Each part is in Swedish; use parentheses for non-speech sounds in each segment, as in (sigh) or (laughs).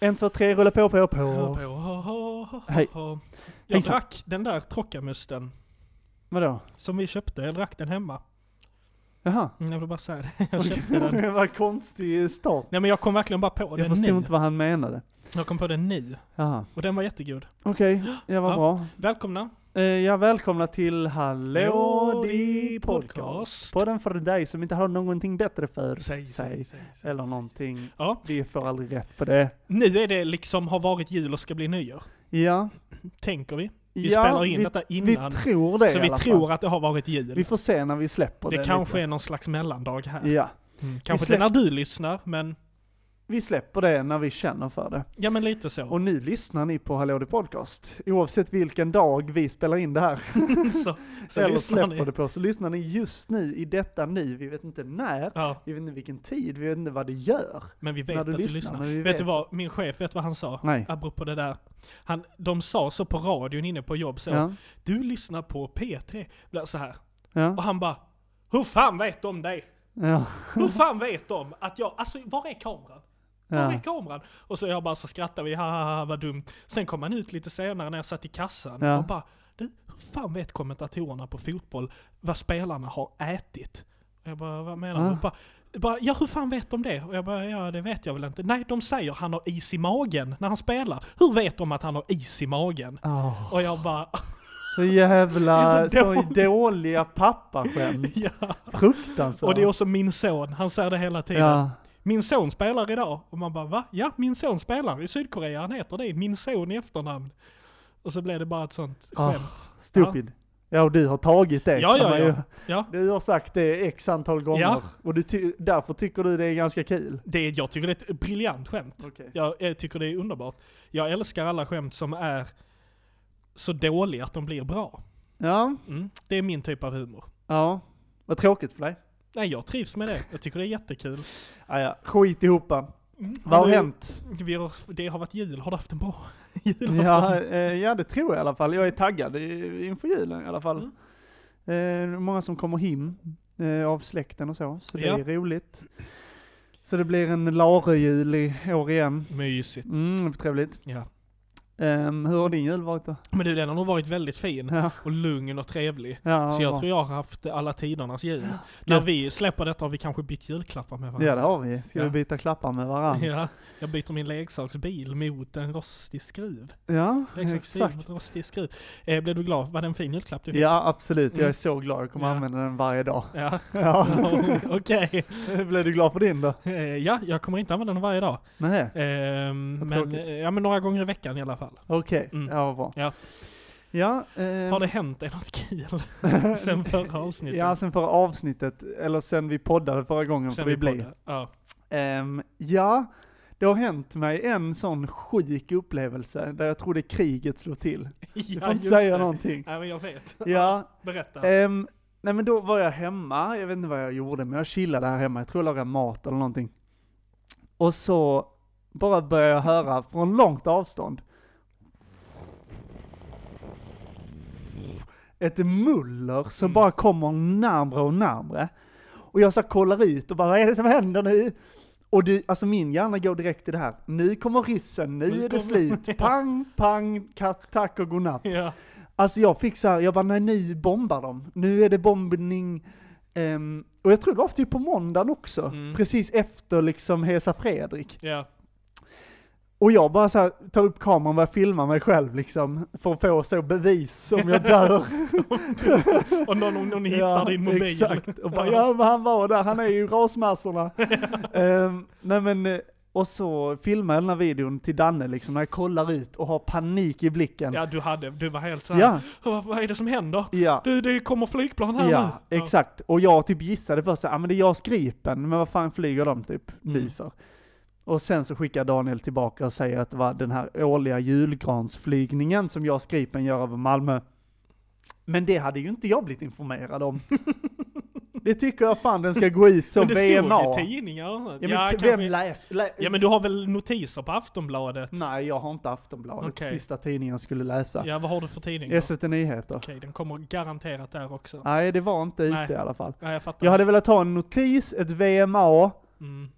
En, två, tre, rulla på, på, Hör på. på, ho, ho, ho, Hej. ho. Jag Hejsan. drack den där trockamusten Vadå? som vi köpte. Jag drack den hemma. Jaha. Mm, Jag vill bara säga det. (laughs) Jag köpte (laughs) den. Vad konstig start. Nej men jag kom verkligen bara på Jag den förstod nu. inte vad han menade. Jag kom på den nu. Jaha. Och den var jättegod. Okej, ja vad Ja. bra. Välkomna. Eh, ja, välkomna till Hallå di podcast. Podden för dig som inte har någonting bättre för Säg, säg, säg. säg. Eller någonting. Ja, Vi får aldrig rätt på det. nu är det liksom har varit jul och ska bli nyår. Ja. Tänker vi. Vi ja, spelar in vi, detta vi innan. tror det så i vi alla tror fall. att det har varit jul. Vi får se när vi släpper det det. kanske är någon slags mellandag här. lite. Ja. Mm. Kanske släpp- inte när du lyssnar, men Vi släpper det när vi känner för det. ja men lite så. Och nu lyssnar ni på Hallå di podcast. Oavsett vilken dag vi spelar in det här. (laughs) så (laughs) så eller lyssnar släpper ni. det på. Så lyssnar ni just nu i detta nu. Vi vet inte när. Ja, Vi vet inte vilken tid. Vi vet inte vad det gör. men vi vet när att du du lyssnar, lyssnar. men vi Vet, vet du vad, Alltså, min chef vet vad han sa? Nej. Apropå det där. Han, de sa så på radion inne på jobb så. Ja. Du lyssnar på P3. Bla- Så här. Ja. Och han bara. Hur fan vet de det? Ja. Hur fan vet de att jag, alltså var är kameran? Var är Ja. kameran? Och så jag bara så skrattar vi, ha, ha, ha vad dumt. Sen kom han ut lite senare när jag satt i kassan Ja. och bara, du, hur fan vet kommentatorerna på fotboll vad spelarna har ätit? Och jag bara, vad menar du? Ja. Och Bara, bara, ja hur fan vet de det? Och jag bara, ja det vet jag väl inte. Nej, de säger han har is i magen när han spelar. Hur vet de att han har is i magen? Åh, Och jag bara, (laughs) så jävla, Det är så så dåligt. dåliga pappaskämt. (laughs) ja. Fruktansvärt. Och det är också min son, han säger det hela tiden. Ja. Min son spelar idag. Och man bara va? Ja, min son spelar i Sydkorea. Han heter det. Min son i efternamn. Och så blev det bara ett sånt Ah, skämt. Stupid. Ja, och du har tagit det. Ja, kan ja, man ja. ju- Ja, Du har sagt det x antal gånger. Ja. Och du ty- därför tycker du det är ganska kul. det, är- jag tycker det är ett briljant skämt. Okej. Jag, jag tycker det är underbart. Jag älskar alla skämt som är så dåliga att de blir bra. Ja. Mm. Det är min typ av humor. Ja. Vad tråkigt för dig. Nej, jag trivs med det. Jag tycker det är jättekul. Ja, ja. Skit ihop. Mm. Vad har Du, hänt? Vi har, det har varit jul. Har du haft en bra (laughs) julafton? (laughs) Ja, eh, ja, det tror jag i alla fall. Jag är taggad i- inför julen i alla fall. Mm. Eh, många som kommer hem eh, av släkten och så, så det Ja. är roligt. Så det blir en larejul i år igen. Mysigt. Mm, trevligt. Ja. Ehm, hur har din jul varit då? Men du, den har nog varit väldigt fin. Ja, Och lugn och trevlig. ja, Så jag bra. tror jag har haft alla tidernas jul. När vi släpper detta har vi kanske bytt julklappar med Ja varandra. det har vi. Ska Ja. vi byta klappar med varandra? Ja, jag byter min leksaksbil mot en rostig skruv. Ja, Leksaksbil exakt. mot rostig skruv. Eh, blev du glad? Var det en fin julklapp du fick? Ja absolut, jag Mm. är så glad. Jag kommer Ja. använda den varje dag. (laughs) Ja, (laughs) Ja. okej. Blev du glad för din då? Eh, ja, jag kommer inte använda den varje dag. Nej, Eh, men, tråkigt. eh, ja, men några gånger i veckan i alla fall. okej. Mm. Ja vad bra. Ja. Ja, Har ehm, det hänt dig något kul (laughs) (laughs) sen förra avsnittet? ja, sen förra avsnittet, eller sen vi poddade förra gången sen får vi bli. poddade. Ja. Ehm, ja, det har hänt mig en sån sjuk upplevelse där jag trodde kriget slog till. (laughs) Du ja, får inte just säga det. någonting. Nej, men jag vet. Ja, Berätta. ehm, nej men då var jag hemma, jag vet inte vad jag gjorde, men jag chillade här hemma, jag tror jag lagade mat eller någonting. Och så bara började jag höra från långt avstånd. Ett muller som Mm. bara kommer närmre och närmre. Och jag så här kollar ut och bara, vad är det som händer nu? Och du, alltså min hjärna går direkt till det här. Nu kommer ryssen, nu, Nu är det (laughs) kommer- slut. Pang, pang, katt, tack och godnatt. Ja. Alltså jag fick så här, jag bara nej nu bombar de. Nu är det bombning. Ehm, och jag tror det var typ på måndagen också. Mm. Precis efter liksom Hesa Fredrik. (laughs) Ja. (laughs) Och jag bara så här, tar upp kameran och börjar filma mig själv liksom. För att få så bevis om jag dör. Och någon, (laughs) om någon hittar din mobil. Exakt. Och bara ja men han var där, han är ju i rasmassorna. Ehm, nej men, eh, och så filmar jag den här videon till Danne liksom när jag kollar ut och har panik i blicken. Ja, du hade, du var helt såhär, ja. vad, vad är det som händer? ja. Du, det kommer flygplan här Ja, nu. exakt. Och jag typ gissade först så, ja ah, men det är JAS Gripen, men vad fan flyger de typ Mm. nu för? Och sen så skickar Daniel tillbaka och säger att det var den här årliga julgransflygningen som JAS Gripen gör över Malmö. Men det hade ju inte jag blivit informerad om. (laughs) det tycker jag fan den ska gå ut Ja. som Men det VMA. stod i tidningar. Ja, Ja, men ja, t- kanske- vem läser? Lä- Mm. ja, men du har väl notiser på Aftonbladet? Nej, jag har inte Aftonbladet, Okej. sista tidningen jag skulle läsa. Ja, vad har du för tidning? då? Okej, SVT Nyheter. den kommer garanterat där också. Nej, det var inte Nej. ute i alla fall. Ja, jag fattar. Jag hade velat ha en notis, ett VMA, mm.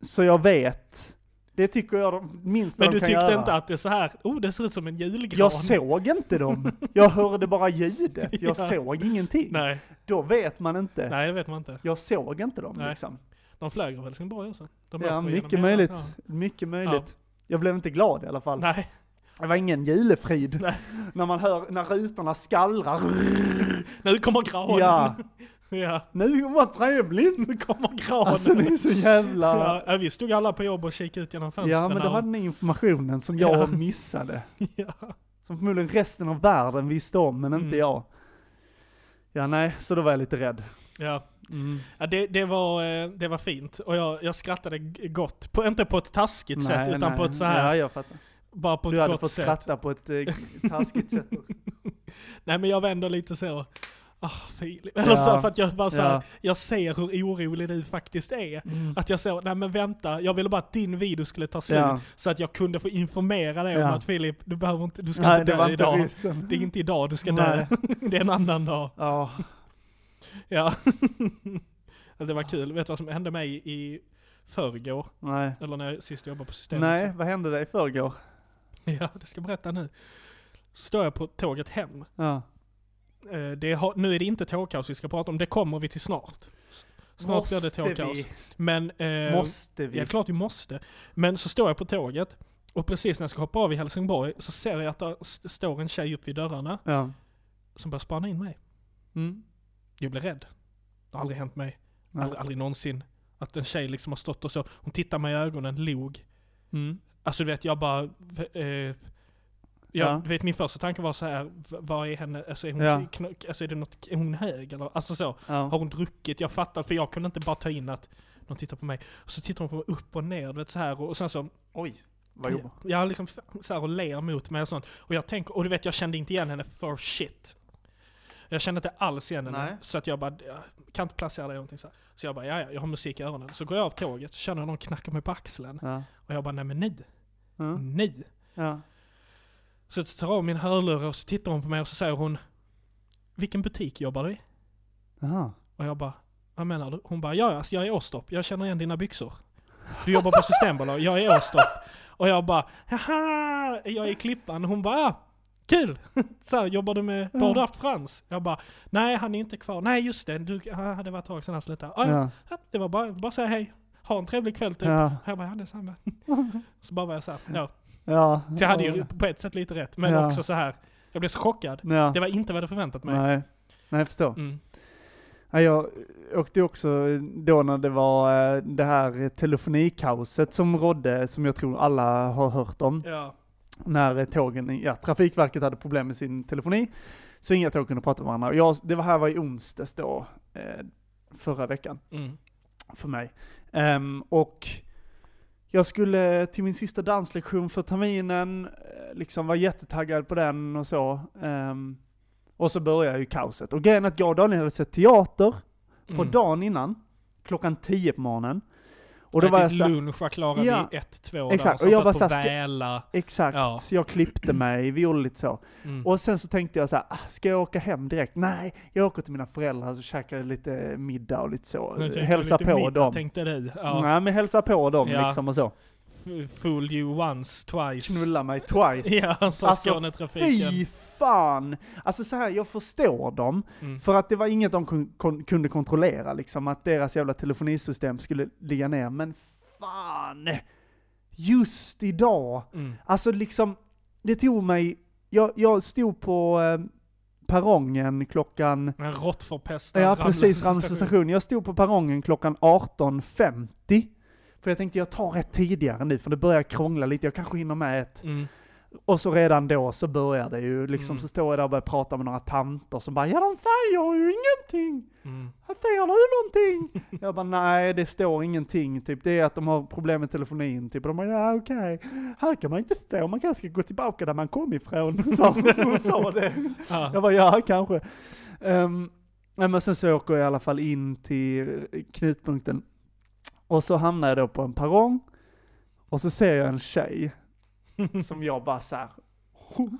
så jag vet Det tycker jag de minsta Men de du kan tyckte göra. inte att det är så här, oh det ser ut som en julgran? Jag såg inte dem. Jag hörde bara ljudet. Jag Ja. såg ingenting. (laughs) Nej, Då vet man inte. nej det vet man inte. Jag såg inte dem Nej. liksom. De flög över Helsingborg också. De Ja, åker genom mycket hela- möjligt. ja. Mycket möjligt. Jag blev inte glad i alla fall. Nej, Det var ingen julefrid. Nej. När man hör, när rutorna skallrar. nu kommer granen. Ja, (laughs) Ja, nu vad trevligt! nu kommer granen. Alltså det är så jävla... ja, ja, vi stod alla på jobb och kikade ut genom fönstren. Ja, men då och- hade ni informationen som jag Ja. missade. (laughs) ja. Som förmodligen resten av världen visste om, men inte Mm. jag. Ja, nej, så då var jag lite rädd. Ja, Mm. ja det, det, var, eh, det var fint. Och jag, jag skrattade g- gott. På, inte på ett taskigt sätt, utan på ett så här, Ja, jag fattar. bara på Du ett hade gott fått sätt. skratta på ett (laughs) eh, taskigt sätt också. Nej men jag vänder lite så. Ah, Filip. Eller så Ja. för att jag bara så här, Ja. jag ser hur orolig du faktiskt är. Mm. Att jag såg, nej men vänta, jag ville bara att din video skulle ta slut. Ja. Så att alltså, jag kunde få informera dig om Ja. att Filip, du behöver inte, du ska Nej, inte det var dö inte idag. ryssen. Det är inte idag du ska dö. Nej. (laughs) Det är en annan dag. Ja, Ja. (laughs) det var kul. Vet du vad som hände mig i förrgår? nej. Eller när jag sist jobbade på systemet. Nej, vad hände dig i förrgår? (laughs) Ja, det ska jag berätta nu. Så står jag på tåget hem. Ja. Eh, Det har, nu är det inte tågkaos vi ska prata om, det kommer vi till snart. S- Snart blir det Måste tågkaos. vi? Men, eh, Måste vi? Ja, klart vi måste. Men så står jag på tåget, och precis när jag ska hoppa av i Helsingborg så ser jag att det s- står en tjej upp vid dörrarna Ja. som börjar spana in mig. Mm. Jag blir rädd. Det har aldrig hänt mig. Nej. Aldrig, aldrig någonsin. Att en tjej liksom har stått och så. Hon tittar mig i ögonen, log. Mm. Alltså du vet, jag bara... v- Eh, jag, Ja. du vet, min första tanke var så här, v- vad är henne, alltså är hon, Ja. kn- alltså, är det något, är hon hög eller? Alltså så, har Ja. hon druckit? Jag fattar, för jag kunde inte bara ta in att någon tittar på mig. Och så tittar hon på mig upp och ner, du vet så här och, och sen så, Oj, vad jobbigt. jag liksom f- så här och ler mot mig och sånt. Och jag tänker, och du vet jag kände inte igen henne for shit. Jag kände inte alls igen henne. Nej. Så att jag bara, jag kan inte placera dig i någonting så här. Så jag bara, ja ja, jag har musik i öronen. Så går jag av tåget, så känner jag någon knacka mig på axeln. Ja. Och jag bara, nej men nej, Ja. Mm. nej. Ja. Så jag tar av min hörlurar och så tittar hon på mig och så säger hon, vilken butik jobbar du i? Jaha. Och jag bara, vad menar du? Hon bara, ja alltså, jag är Åstorp, jag känner igen dina byxor. Du jobbar på Systembolaget, jag är Åstorp. Och jag bara, haha, jag är i Klippan. Hon bara, ah, kul! (laughs) Så här, jobbar du med, har du haft Frans? Jag bara, nej han är inte kvar. Nej just det, du, ah, det var ett tag sedan han slutade. Ah, ja. Ja. Det var bara, bara säga hej, ha en trevlig kväll typ. Ja. Jag bara, ja detsamma. Så bara var jag så här, ja. Ja. Så jag hade ju på ett sätt lite rätt, men Ja. också så här, jag blev så chockad. Ja. Det var inte vad jag hade förväntat mig. Nej. Nej, jag förstår. Mm. Ja, jag åkte också då när det var eh, det här telefonikaoset som rådde, som jag tror alla har hört om, Ja. när eh, tågen, ja, Trafikverket hade problem med sin telefoni, så inga tåg kunde prata med varandra. Och Jag, det var här var i onsdags då, eh, förra veckan, Mm. för mig. Ehm, och jag skulle till min sista danslektion för terminen, eh, liksom var jättetaggad på den och så. Ehm, och så började ju kaoset. Och grejen är att jag och Daniel hade sett teater, på Mm. dagen innan, klockan 10 på morgonen. Och då var jag ätit så lunch, var klara Ja. vid ett, två Exakt, där, och och så jag jag bara på så här, ska- Väla. exakt, Ja. så jag klippte mig, vi gjorde lite så. Mm. Och sen så tänkte jag så här, "Ah, ska jag åka hem direkt? Nej, jag åker till mina föräldrar så käkar lite middag och lite så. Nu tänkte jag Hälsa lite på middag, dem. Tänkte du. Ja. Nej men hälsa på dem Ja. liksom och så. F- Fool you once, twice. Knulla mig twice. (laughs) Ja, sa Alltså, Skånetrafiken. Fy fan! Alltså så här, jag förstår dem. Mm. För att det var inget de kun, kon, kunde kontrollera liksom, att deras jävla telefonisystem skulle ligga ner. Men fan! Just idag! Mm. Alltså liksom, det tog mig... Jag, jag stod på eh, perrongen klockan... En råttförpestad Ja, Ramlösa (laughs) precis, Ramlösa station. Jag stod på perrongen klockan 18.50. För jag tänkte jag tar rätt tidigare nu, för det börjar krångla lite. Jag kanske hinner med ett Mm. och så redan då så började det ju liksom, Mm. så står jag där och börjar prata med några tanter som bara ja de säger ju ingenting! Mm. Här Säger du någonting? (laughs) jag bara nej det står ingenting, typ det är att de har problem med telefonin, typ. Och de bara ja okej, här kan man inte stå, man kanske ska gå tillbaka där man kom ifrån. (laughs) Så, hon sa det. Ja. Jag bara ja kanske. Ehm, nej, men sen så åker jag i alla fall in till knutpunkten. Och så hamnar jag då på en perrong. Och så ser jag en tjej (laughs) som jag bara så här. (laughs)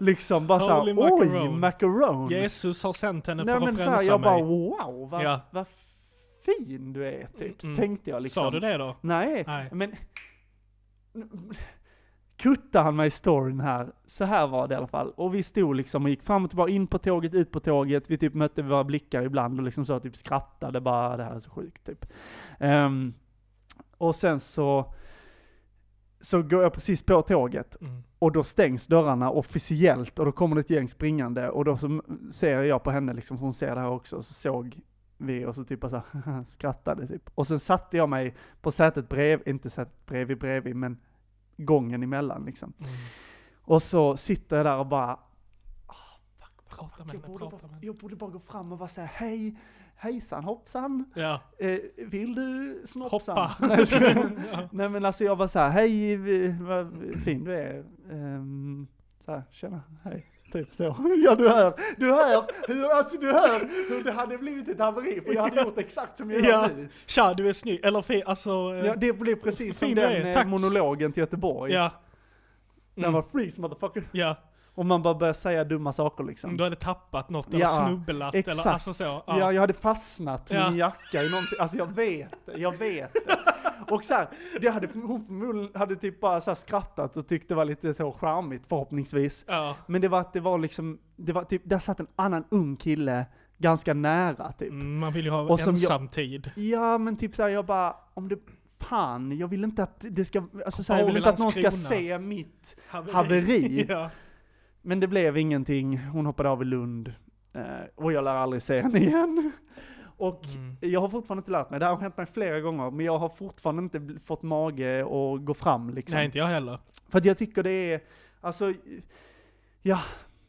liksom bara så här, Holy oj, macaron." macaron. Jesus har sänt henne Nej för men att så här, frälsa jag mig. bara wow, vad, Ja. vad fin du är typ. Så Mm. tänkte jag liksom. Sa du det då? Nej, (laughs) Nej. men... Kuttar han mig i storyn här. Så här var det i alla fall. Och vi stod liksom och gick fram och tillbaka, in på tåget, ut på tåget. Vi typ mötte våra blickar ibland och liksom så typ skrattade bara, det här är så sjukt typ. Ehm, och sen så... Så går jag precis på tåget Mm. och då stängs dörrarna officiellt och då kommer det ett gäng springande och då så m- ser jag på henne liksom, för hon ser det här också, så såg vi och så typ bara så här, (laughs) skrattade typ. Och sen satte jag mig på sätet bredvid, inte sätet bredvid bredvid, men gången emellan liksom. Mm. Och så sitter jag där och bara, Prata med jag henne, borde, prata med bara, henne. jag borde bara gå fram och bara säga hej, hejsan hoppsan, Ja, eh, vill du snoppsan? hoppa. Nej, jag skojar. (laughs) ja. Nej men alltså jag bara såhär, hej vi- vad fin du är. Um, såhär, tjena, hej. Typ så. (laughs) Ja du hör, du hör, hur, alltså du hör hur det hade blivit ett haveri för jag hade gjort exakt som jag Ja. gör nu. Tja, du är snygg. Eller fi, alltså... eh, Ja, det blev precis som Fin du är, den eh, tack. monologen till Göteborg. ja. Mm. Den var freeze motherfucker. Ja, Och man bara börjar säga dumma saker liksom. om du hade tappat något eller Ja, snubblat exakt. eller alltså så. Mm, Ja. Ja, jag hade fastnat med Ja. min jacka i någonting. Alltså jag vet det, jag vet det. Och så här, det hade, hon förmodligen hade typ bara så här skrattat och tyckt det var lite så charmigt förhoppningsvis. Ja. Men det var att det var liksom, det var typ, där satt en annan ung kille ganska nära typ. Mm, Man vill ju ha Och som jag- ensamtid. Ja men typ såhär, jag bara, om det, fan, jag vill inte att det ska, alltså såhär, jag Paul vill inte att någon ska Landskrona. se mitt haveri. (laughs) Ja. Men det blev ingenting, hon hoppade av i Lund. Eh, och jag lär aldrig se henne igen. (laughs) Och Mm. jag har fortfarande inte lärt mig, det här har hänt mig flera gånger, men jag har fortfarande inte bl- fått mage att gå fram liksom. Nej, inte jag heller. För att jag tycker det är, alltså, ja,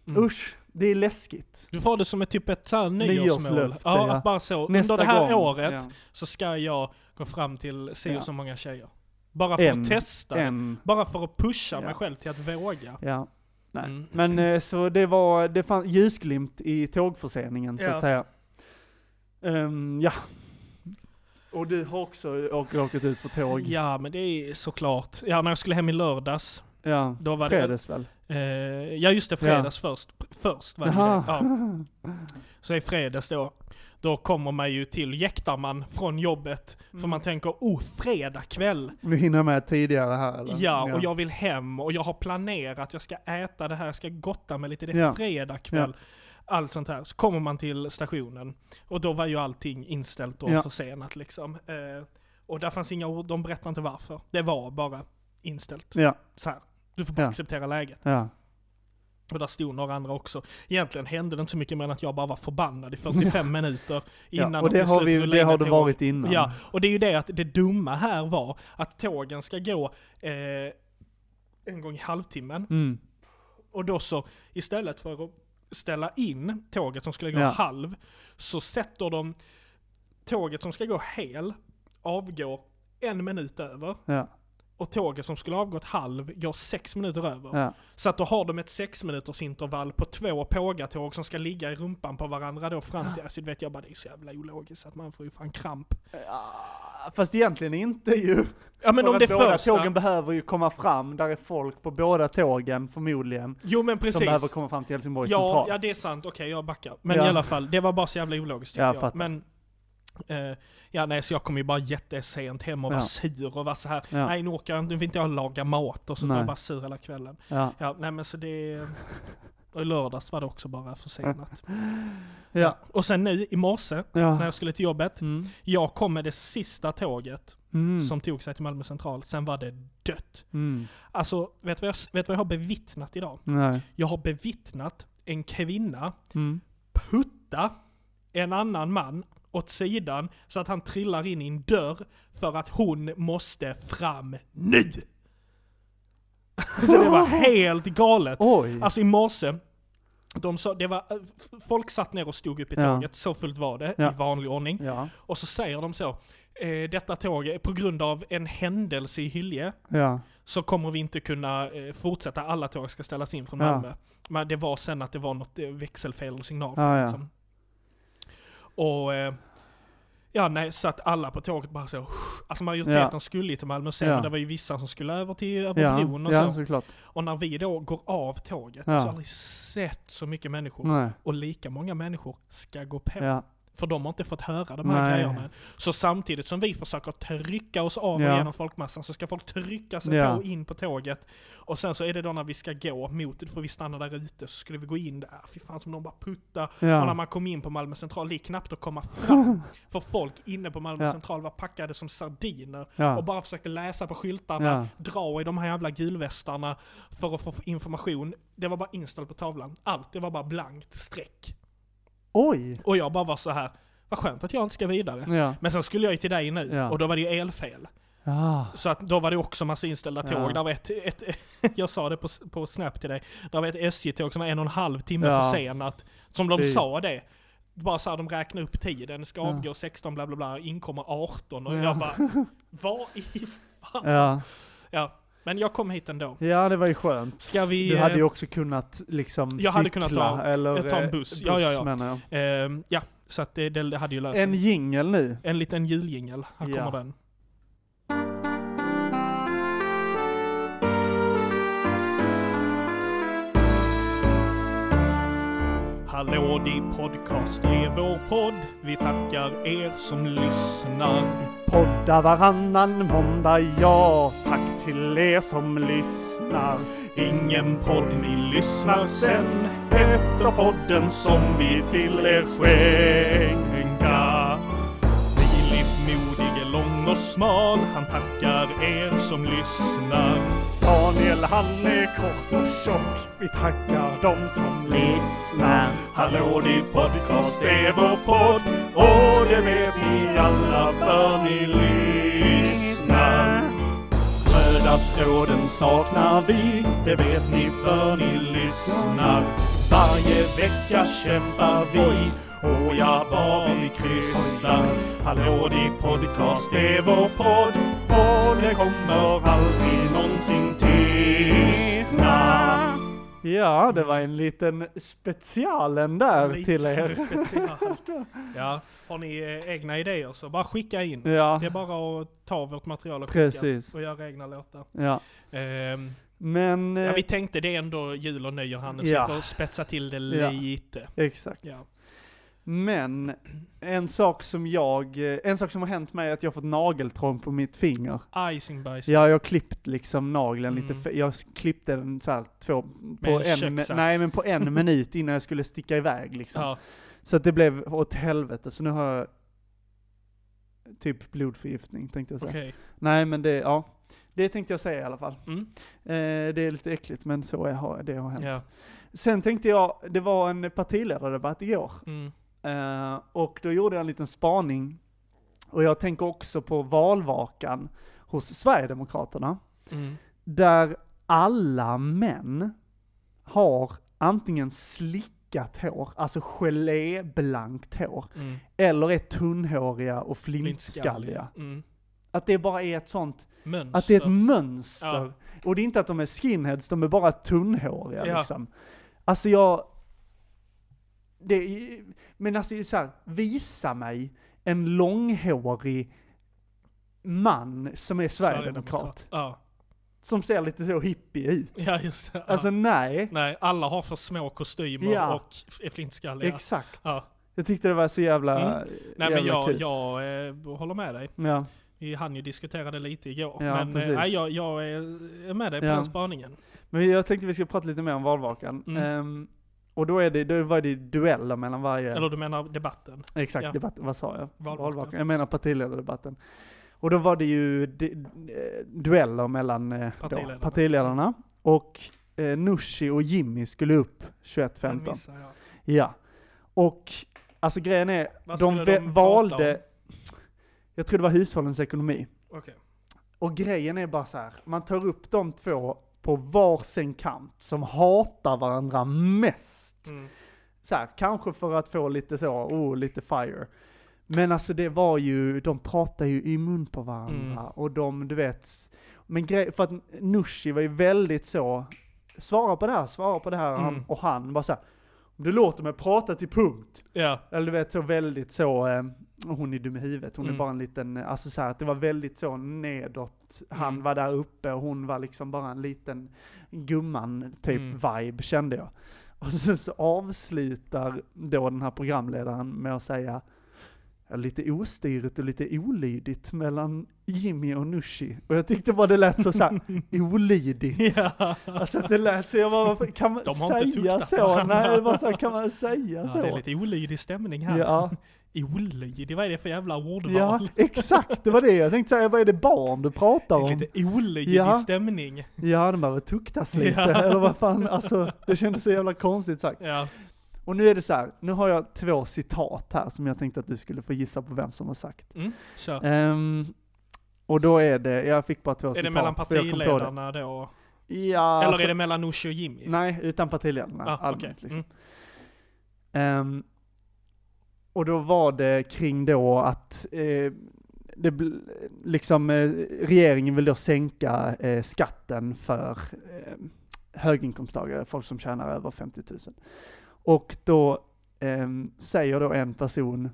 Mm. usch, det är läskigt. Du får det som ett typ ett så här nyårsmål. Nyårslöfte, Ja, ja. att bara så. Nästa Under det här gång, året ja. så ska jag gå fram till si Ja. och så många tjejer. Bara för En. att testa. En. Bara för att pusha Ja. mig själv till att våga. Ja. Nej. Mm. (clears throat) Men eh, så det var, det fanns ljusglimt i tågförseningen så Ja. att säga. Ehm, ja. Och du har också åkt, åkt ut för tåg. Ja. Ja, men det är såklart. Ja, när jag skulle hem i lördags, då var det Fredags väl? Eh, ja just det, fredags först. P- Först var det ju det. (laughs) Ja. Så i fredags då, då kommer man ju till jäktarman från jobbet. För man tänker, oh fredag kväll! Nu hinner jag med tidigare här eller? Ja, och jag vill hem och jag har planerat, jag ska äta det här, jag ska gotta mig lite, det är Ja. fredag kväll. Allt sånt här. Så kommer man till stationen och då var ju allting inställt och Ja. försenat liksom. Eh, och där fanns inga ord, de berättade inte varför. Det var bara inställt. Ja, Så här. Du får bara Ja. acceptera läget. ja. Och där stod några andra också. Egentligen hände det inte så mycket mer än att jag bara var förbannad (laughs) i 45 minuter innan ja. de Och det till har, slut vi, rullade det in har ett det tåg. varit innan. Ja, och det är ju det att det dumma här var att tågen ska gå eh, en gång i halvtimmen. Mm. Och då så, istället för att ställa in tåget som skulle gå Ja. halv, så sätter de tåget som ska gå hel, avgår en minut över. Ja, Och tåget som skulle avgått halv går sex minuter över. ja, Så att då har de ett sex minuters intervall på två pågatåg som ska ligga i rumpan på varandra då fram till... Alltså du vet jag bara, det är så jävla ologiskt att man får ju fan kramp. ja. Ah, Fast egentligen inte ju. Ja men För om att det båda första... tågen behöver ju komma fram, där är folk på båda tågen förmodligen. Jo men Som behöver precis. komma fram till Helsingborg Ja, central. ja det är sant, okej jag backar. Men Ja. i alla fall, det var bara så jävla ologiskt tyckte Ja, jag. fattar. Men... eh, ja nej så jag kom ju bara jättesent hem och var Ja. sur och var så här. Ja. nej nu åker jag inte, nu vill inte jag laga mat och så var Nej. jag bara sur hela kvällen. ja. Ja nej men så det... Och i lördags var det också bara försenat. Ja. Ah. Och sen nu i morse, när ja. jag skulle till jobbet, Mm. Jag kom med det sista tåget Mm. som tog sig till Malmö central, sen var det dött. Mm. Alltså, vet du vad, jag- vet du vad jag har bevittnat idag? Nej. Jag har bevittnat en kvinna Mm. putta en annan man åt sidan så att han trillar in i en dörr för att hon måste fram nu! Så det var helt galet! Oj! Alltså i morse, de sa, det var, eh, folk satt ner och stod upp i Ja. tåget, så fullt var det Ja. i vanlig ordning. ja. Och så säger de så. Eh, detta tåg, är- på grund av en händelse i Hylje, Ja. så kommer vi inte kunna eh, fortsätta. Alla tåg ska ställas in från Ja. Malmö. Men det var sen att det var något eh, växelfel och signal. Ja, ja. Liksom. Och... Eh, ja, nej, så att alla på tåget bara så... Alltså majoriteten skulle ju till Malmö sen, Ja. men det var ju vissa som skulle över till över Ja. bron och ja, så. såklart. Och när vi då går av tåget, alltså Ja. jag har aldrig sett så mycket människor. Nej. Och lika många människor ska gå på. Ja. För de har inte fått höra de här Nej. grejerna än. Så samtidigt som vi försöker trycka oss av Ja. och genom folkmassan så ska folk trycka sig Ja. på och in på tåget. Och sen så är det då när vi ska gå mot, för vi stannar där ute, så skulle vi gå in där. Fy fan som de bara putta. Och när Ja. man kom in på Malmö central, det gick knappt att komma (laughs) fram. för folk inne på Malmö Ja. central var packade som sardiner och (laughs) Ja. bara försökte läsa på skyltarna, Ja. dra i de här jävla gulvästarna för att få information. Det var bara inställt på tavlan. Allt, det var bara blankt streck. Oj! Och jag bara var så här, vad skönt att jag inte ska vidare. Ja. Men sen skulle jag ju till dig nu, Ja. och då var det ju elfel. Ja. Så att då var det också massa inställda Ja. tåg. Där var ett, ett, (laughs) jag sa det på, på Snap till dig, där var ett SJ-tåg som var en och en halv timme Ja. försenat. Som de Fy. sa det. Bara så här, de räknar upp tiden, ska Ja. avgå 16 bla bla bla, inkommer 18 och Ja. jag bara, (laughs) vad i fan? Ja. Ja, men jag kom hit ändå. ja, det var ju skönt. Ska vi... Du hade ju eh, också kunnat liksom Jag hade kunnat cykla, ta- eller eh, ta en eh, buss. Ja, ja, ja. menar jag. ehm, ja, så att det, det hade ju löst En en, jingel nu. en liten juljingel. Här Ja. kommer den. Hallå di podcast är vår podd. Vi tackar er som lyssnar. Poddar varannan måndag, ja. Tack till er som lyssnar. Ingen podd ni lyssnar sen efter podden som vi till er skänka. Filip modig är lång och smal, han tackar er som lyssnar. Daniel, han är kort och tjock. Vi tackar dem som lyssnar. Hallå din podcast är vår podd och det vet ni alla för ni lyssnar. Röda tråden saknar vi, det vet ni för ni lyssnar. Varje vecka kämpar vi, och ja var vi krystar. Hallå din podcast är vår podd, och det kommer aldrig någonsin tystna. Ja, det var en liten specialen där till er. (laughs) Ja, har ni eh, egna idéer så bara skicka in. Ja, Det är bara att ta vårt material och Precis. skicka och göra egna låtar. ja. Ehm, Men, eh, ja, vi tänkte det är ändå jul och nyår Hannes, Ja. vi får spetsa till det Ja. lite. eh, exakt. Ja. Men, en sak som jag, eh, en sak som har hänt mig är att jag har fått nageltrång på mitt finger. Icingbajs. Ja, jag har klippt liksom nageln lite, Mm. fe- jag s- klippte den så här två, Med på en en, köksax. nej men på (laughs) en minut innan jag skulle sticka iväg liksom. Ja. Så att det blev åt helvete, så nu har jag typ blodförgiftning tänkte jag säga. Okej. Nej men det, ja. Det tänkte jag säga i alla fall. Mm. Eh, det är lite äckligt men så är, har- det har hänt. Ja. Sen tänkte jag, det var en partiledardebatt igår. Mm. Eh, och då gjorde jag en liten spaning. Och jag tänker också på valvakan hos Sverigedemokraterna. Mm. Där alla män har antingen slickat hår, alltså geléblankt hår, Mm. eller är tunnhåriga och flintskalliga. Flintskalliga. Mm. Att det bara är ett sånt Mönster. att det är ett mönster. Ja. Och det är inte att de är skinheads, de är bara tunnhåriga Ja. liksom. Alltså jag... Det är, men alltså så här, visa mig en långhårig man som är sverigedemokrat. Ja. Som ser lite så hippie ut. ja, just det. Ja. Alltså nej, Nej, alla har för små kostymer Ja. och är flintskalliga. exakt. ja. Mm. Jag tyckte det var så jävla, Nej jävla men jag, kul. jag eh, håller med dig. Ja. Vi hann ju diskutera det lite igår. Ja, men eh, precis. nej, jag, jag är är med dig på Ja. den spaningen. Men jag tänkte vi skulle prata lite mer om valvakan. Mm. Ehm, och då, är det, då var det dueller mellan varje... Eller du menar debatten? Exakt, Ja. debatt, vad sa jag? Valvakan. Valvakan. Jag menar partiledardebatten. Och då var det ju de, eh, dueller mellan eh, Partiledarna. Då, partiledarna. Och eh, Nushi och Jimmy skulle upp Den 21.15. missar jag. Ja. Och alltså grejen är, Vad de, skulle vä- de prata om? valde, jag tror det var hushållens ekonomi. Okej. Och grejen är bara så här, man tar upp de två på varsin kant som hatar varandra mest Mm. så här, kanske för att få lite så, oh, lite fire. Men alltså det var ju, de pratade ju i mun på varandra Mm. och de, du vet, men grej, för att Nushi var ju väldigt så, svara på det här, svara på det här, Mm. och han bara så här, om du låter mig prata till punkt. Ja. (laughs) Eller du vet så väldigt så, eh, hon är dum i huvudet, hon Mm. är bara en liten, eh, alltså så här, att det var väldigt så nedåt, han Mm. var där uppe och hon var liksom bara en liten gumman typ Mm. vibe (laughs) kände jag. Och sen så avslutar då den här programledaren med att säga ja, lite ostyrigt och lite olydigt mellan Jimmy och Nushi. Och jag tyckte bara det lät så (laughs) såhär olydigt. Ja. Alltså att det lät så, jag bara, varför- kan man De har inte säga tuktat så? varandra. Nej, vad så kan man säga Ja, så? det är lite olydig stämning här. Ja. Olydig, vad är det för jävla ordval? Ja, exakt, det var det jag tänkte säga, vad är det barn du pratar Det är om? lite olydig Ja. stämning. Ja, de behöver tuktas lite, (laughs) Ja. eller vad fan, alltså det kändes så jävla konstigt sagt. Ja. Och nu är det så här, nu har jag två citat här som jag tänkte att du skulle få gissa på vem som har sagt. Mm, kör. Ehm, och då är det, jag fick bara två Är citat. det mellan för jag kom på det. partiledarna då? Ja, Eller alltså, är det mellan Nooshi och Jimmy? Nej, utan partiledarna, ah, allmänt okej. liksom. Mm. Ehm, och då var det kring då att eh, det bl- liksom, eh, regeringen vill då sänka eh, skatten för eh, höginkomsttagare, folk som tjänar över 50 000. Och då ehm, säger då en person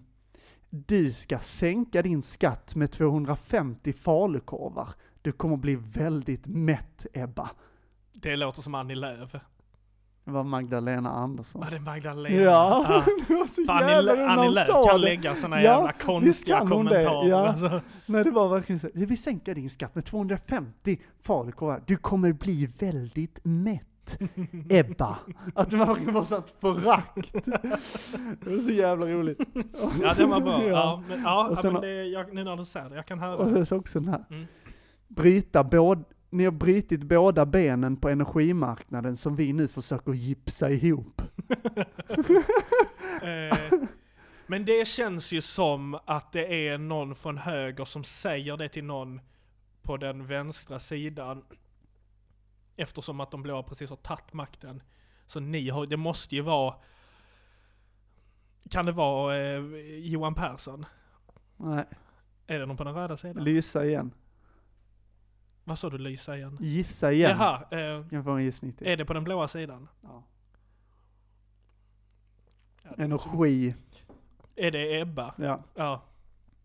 du ska sänka din skatt med 250 falukorvar. Du kommer bli väldigt mätt Ebba. Det låter som Annie Lööf. Det var Magdalena Andersson. Var det Magdalena? Ja, Ah. det var så Fan, jävla Annie, roligt när Lö- Annie hon Lööf sa kan det. lägga sådana Ja, jävla visst konstiga kan hon det, kommentarer. ja. Alltså. Nej, det var verkligen så. Vi sänker din skatt med 250 falukorvar. Du kommer bli väldigt (laughs) mätt, Ebba. Att det verkligen var sånt förakt. Det var så jävla roligt. Ja, det var (laughs) bra. Ja. Ja, men, ja, Och ja, sen- men det, jag, nu när du säger det, jag kan höra. Och sen så också den här. Mm. Bryta båd, ni har brutit båda benen på energimarknaden som vi nu försöker gipsa (laughs) ihop. Eh, Men det känns ju som att det är någon från höger som säger det till någon på den vänstra sidan. Eftersom att de blåa precis har tagit makten. Så ni har, det måste ju vara... Kan det vara eh, Johan Persson? Nej, Är det någon på den röda sidan? lysa igen. Vad sa du Lysa igen? Gissa igen. Typ. Jaha, eh, Kan få en gissning till. är det på den blåa sidan? Ja. Ja, det- Energi. Är det Ebba? Ja. Ja,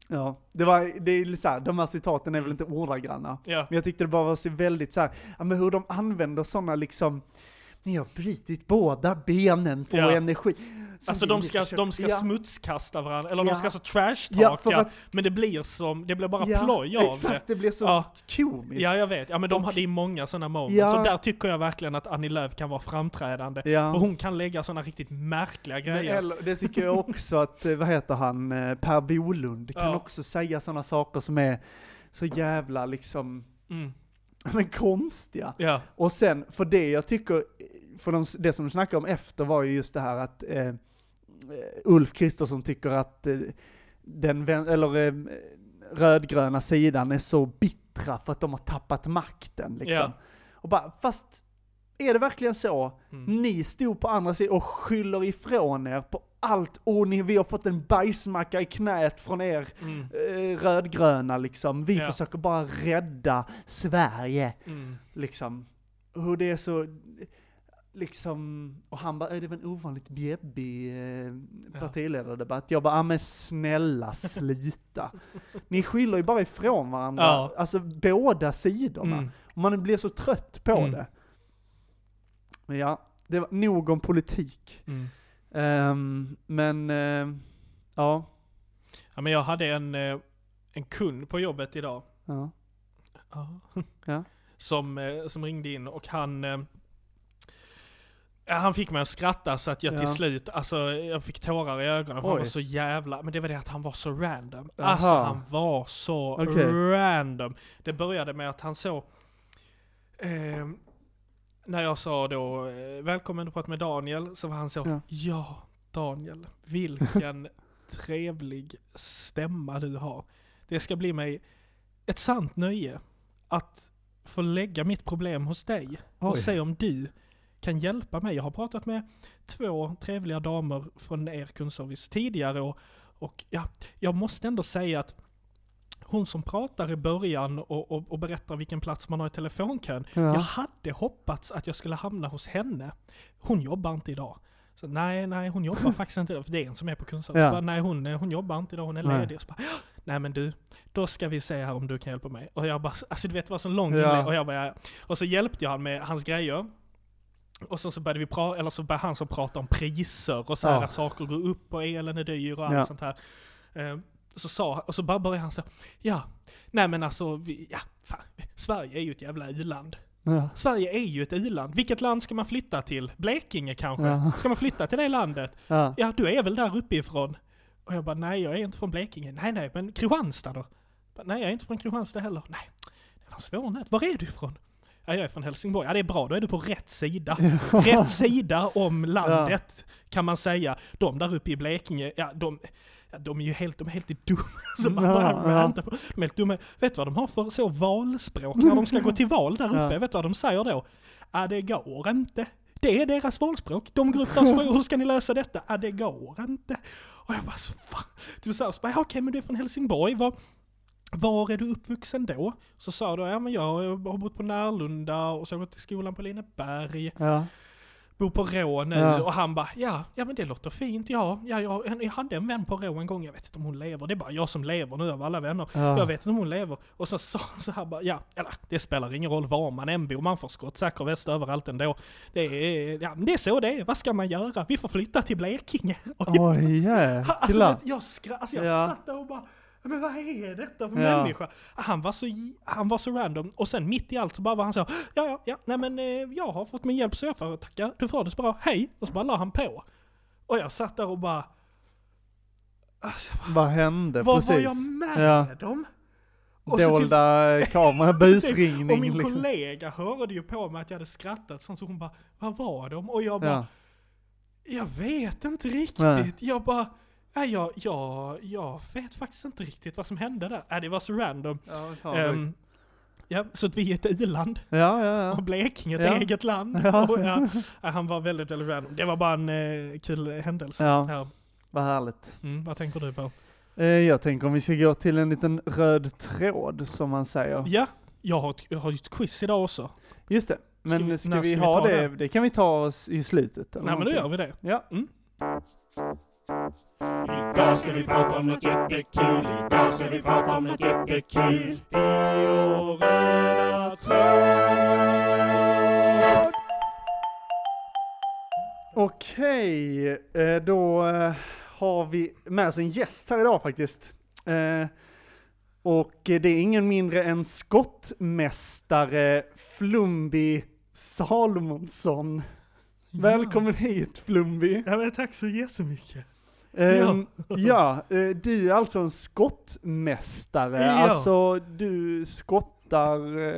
ja. Det var, det är så här, de här citaten är väl inte ordagranna. ja. Men jag tyckte det bara var så väldigt så här, ja, men hur de använder sådana liksom, ni har brutit båda benen på Ja. energi. Som Alltså vi de nu ska, försöker- de ska ja, smutskasta varandra, eller Ja. de ska alltså trashtalka, Ja, för att- men det blir som, det blir bara ja, ploj av Exakt, det. det blir så Ja. komiskt. Ja jag vet, ja men de Och- hade ju många sådana moments, Ja. och där tycker jag verkligen att Annie Lööf kan vara framträdande. Ja. För hon kan lägga sådana riktigt märkliga Men grejer. eller, det tycker jag också att, eh, vad heter han, eh, Per Bolund kan Ja. också säga sådana saker som är så jävla liksom, (laughs) Mm. men konstiga. Ja, Och sen, för det jag tycker, för de, det som de snackade om efter var ju just det här att eh, Ulf Kristersson tycker att eh, den, vän- eller eh, rödgröna sidan är så bittra för att de har tappat makten liksom. Ja. Och bara, fast är det verkligen så? Mm. Ni stod på andra sidan och skyller ifrån er på allt, och ni, vi har fått en bajsmacka i knät från er mm, eh, rödgröna liksom. Vi Ja. försöker bara rädda Sverige mm. liksom. Hur det är så, liksom, och han bara, "Äh, det var en ovanligt bjäbbig eh, Ja. partiledardebatt. Jag bara, "Ah, men snälla (laughs) sluta. Ni skyller ju bara ifrån varandra, Ja. alltså båda sidorna. Mm. Och man blir så trött på Mm. det. Men ja, det var nog om politik. Mm. Ehm, men, ehm, ja. Ja men jag hade en, eh, en kund på jobbet idag. ja. Ja. Ja. Som, eh, som ringde in och han eh, ja, han fick mig att skratta så att jag till Ja. slut, alltså jag fick tårar i ögonen för han Oj. var så jävla, men det var det att han var så random. Aha. Alltså han var så Okej. random. Det började med att han så, eh, när jag sa då eh, välkommen du pratar med Daniel, så var han så, Ja. ja, Daniel, vilken (laughs) trevlig stämma du har. Det ska bli mig ett sant nöje att få lägga mitt problem hos dig och Oj. se om du kan hjälpa mig. Jag har pratat med två trevliga damer från er kundservice tidigare och, och ja, jag måste ändå säga att hon som pratar i början och, och, och berättar vilken plats man har i telefonkön, Ja. jag hade hoppats att jag skulle hamna hos henne. Hon jobbar inte idag. Så, nej, nej, (laughs) hon jobbar faktiskt inte idag. För det är en som är på kundservice. Ja. Bara, Nej, hon, hon jobbar inte idag, hon är Nej. ledig. Och så bara, "Ja, nej men du, då ska vi se här om du kan hjälpa mig. Och jag bara, alltså du vet det var så lång Ja. inlägg. Och, jag bara, "Ja." och så hjälpte jag han med hans grejer. Och sen så började vi prata, eller så började han så prata om priser och så här Ja. att saker går upp och elen är dyr och allt Ja. sånt här. Eh, så sa och så bara började han så här, ja, nej men alltså, vi, ja, fan, Sverige är ju ett jävla u-land. Ja. Sverige är ju ett u-land. Vilket land ska man flytta till? Blekinge kanske? Ja. Ska man flytta till det landet? Ja. Ja, du är väl där uppifrån? Och jag bara, nej jag är inte från Blekinge. Nej, nej, men Kristianstad då? Bara, nej, jag är inte från Kristianstad heller. Nej, det var svår nöt. Var är du ifrån? Ja, jag är från Helsingborg. Ja, det är bra, då är du på rätt sida. (laughs) Rätt sida om landet, kan man säga. De där uppe i Blekinge, ja de, ja, de är ju helt, de är helt (laughs) dumma. Som man Ja, bara ja. rantar på. De är helt dumma. Vet du vad de har för så valspråk när de ska gå till val där uppe? Ja. Vet du vad de säger då? Ja, det går inte. Det är deras valspråk. De går upp där och frågar hur ska ni lösa detta? Ja, det går inte. Och jag bara, så, fan. Typ så här, så bara, ja, okej men du är från Helsingborg, vad, var är du uppvuxen då? Så sa du, ja men jag har bott på Närlunda och så har jag gått till skolan på Lineberg, Ja. bor på Rå nu. Ja. Och han bara, ja, ja men det låter fint, ja, ja jag, jag hade en vän på Rå en gång, jag vet inte om hon lever, det är bara jag som lever nu av alla vänner. Ja. Jag vet inte om hon lever. Och så sa han så här bara, ja, eller det spelar ingen roll var man än bor, man får skottsäker väst överallt ändå. Det är, ja, men det är så det är, vad ska man göra? Vi får flytta till Blekinge. (laughs) Och jag Oj Ha- Alltså, jäklar. vet, jag skra- alltså jag Ja. satt där och bara men vad är detta för Ja. människa? Han var, så, j- han var så random och sen mitt i allt så bara var han så Ja ja ja, nej men eh, jag har fått min hjälp så jag får tacka, du får det så bra, hej! Och så bara la han på. Och jag satt där och bara alltså, Vad hände? Vad Precis. var jag med om? Och så typ- Dolda (laughs) kamera, och busringning min liksom. kollega hörde ju på mig att jag hade skrattat sånt så hon bara Vad var de? Och jag bara Ja. Jag vet inte riktigt. Nej. Jag bara, ja, jag, jag, jag vet faktiskt inte riktigt vad som hände där. Äh, det var så random. Ja, Ehm, ja, så att vi är ett i-land ja, ja. och Blekinge ett Ja. eget land. Ja. Och, ja, ja, han var väldigt, väldigt random. Det var bara en eh, kul händelse. Ja, Ja. vad härligt. Mm, vad tänker du på? Eh, Jag tänker om vi ska gå till en liten röd tråd som man säger. Ja, jag har ett, jag har ett quiz idag också. Just det. Men vi- ska, när vi ska vi ha ta det? Det kan vi ta oss i slutet. eller Nej men då någonting. gör vi det. Ja. Idag ska vi prata om något jättekul. Idag ska vi prata om något jättekul. I år röda tråd. Okej, eh, då eh, har vi med oss en gäst här idag faktiskt. Eh, Och eh, det är ingen mindre än skottmästare Flumbi Salomonsson. Välkommen hit Flumbi. Ja, men tack så jättemycket. Ehm, ja, eh, du är alltså en skottmästare. Ja. Alltså du skottar eh,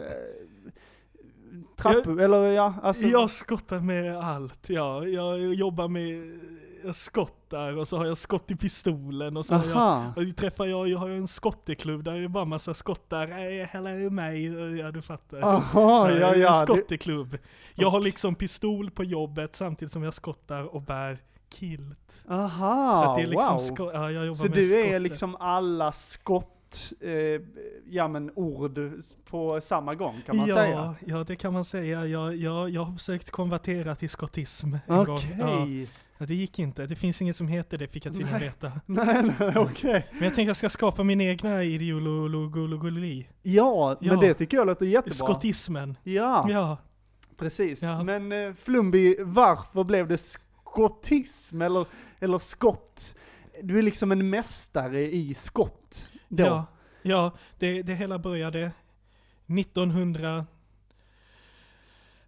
trappor, eller ja, alltså. Jag skottar med allt. Ja, jag jobbar med jag skottar och så har jag skott i pistolen och så har jag, Aha. och träffar jag, jag har ju en skotteklubb där det är bara massa skottar. Äh, Hälla ur mig, ja Eh, du fattar. Aha, Jag ja, är en ja. det- skotteklubb. Jag har liksom pistol på jobbet samtidigt som jag skottar och bär kilt. Aha, så att det är liksom Ah, wow. sko- ja, jag jobbar Så med du är skottet. liksom alla skott, eh, ja men ord på samma gång kan man ja, säga? Ja, det kan man säga. Jag, jag, jag har försökt konvertera till skottism en gång. Okej. Ja. Ja, det gick inte. Det finns inget som heter det, fick jag tydligen veta. (laughs) Nej, nej, okej. Men jag tänker jag ska skapa min egna ideologi. Ja, Ja. men det tycker jag låter jättebra. Skottismen. Ja, Ja. precis. Ja. Men eh, Flumby, varför blev det skottism eller, eller skott? Du är liksom en mästare i skott då. Ja, ja det, det hela började 1900...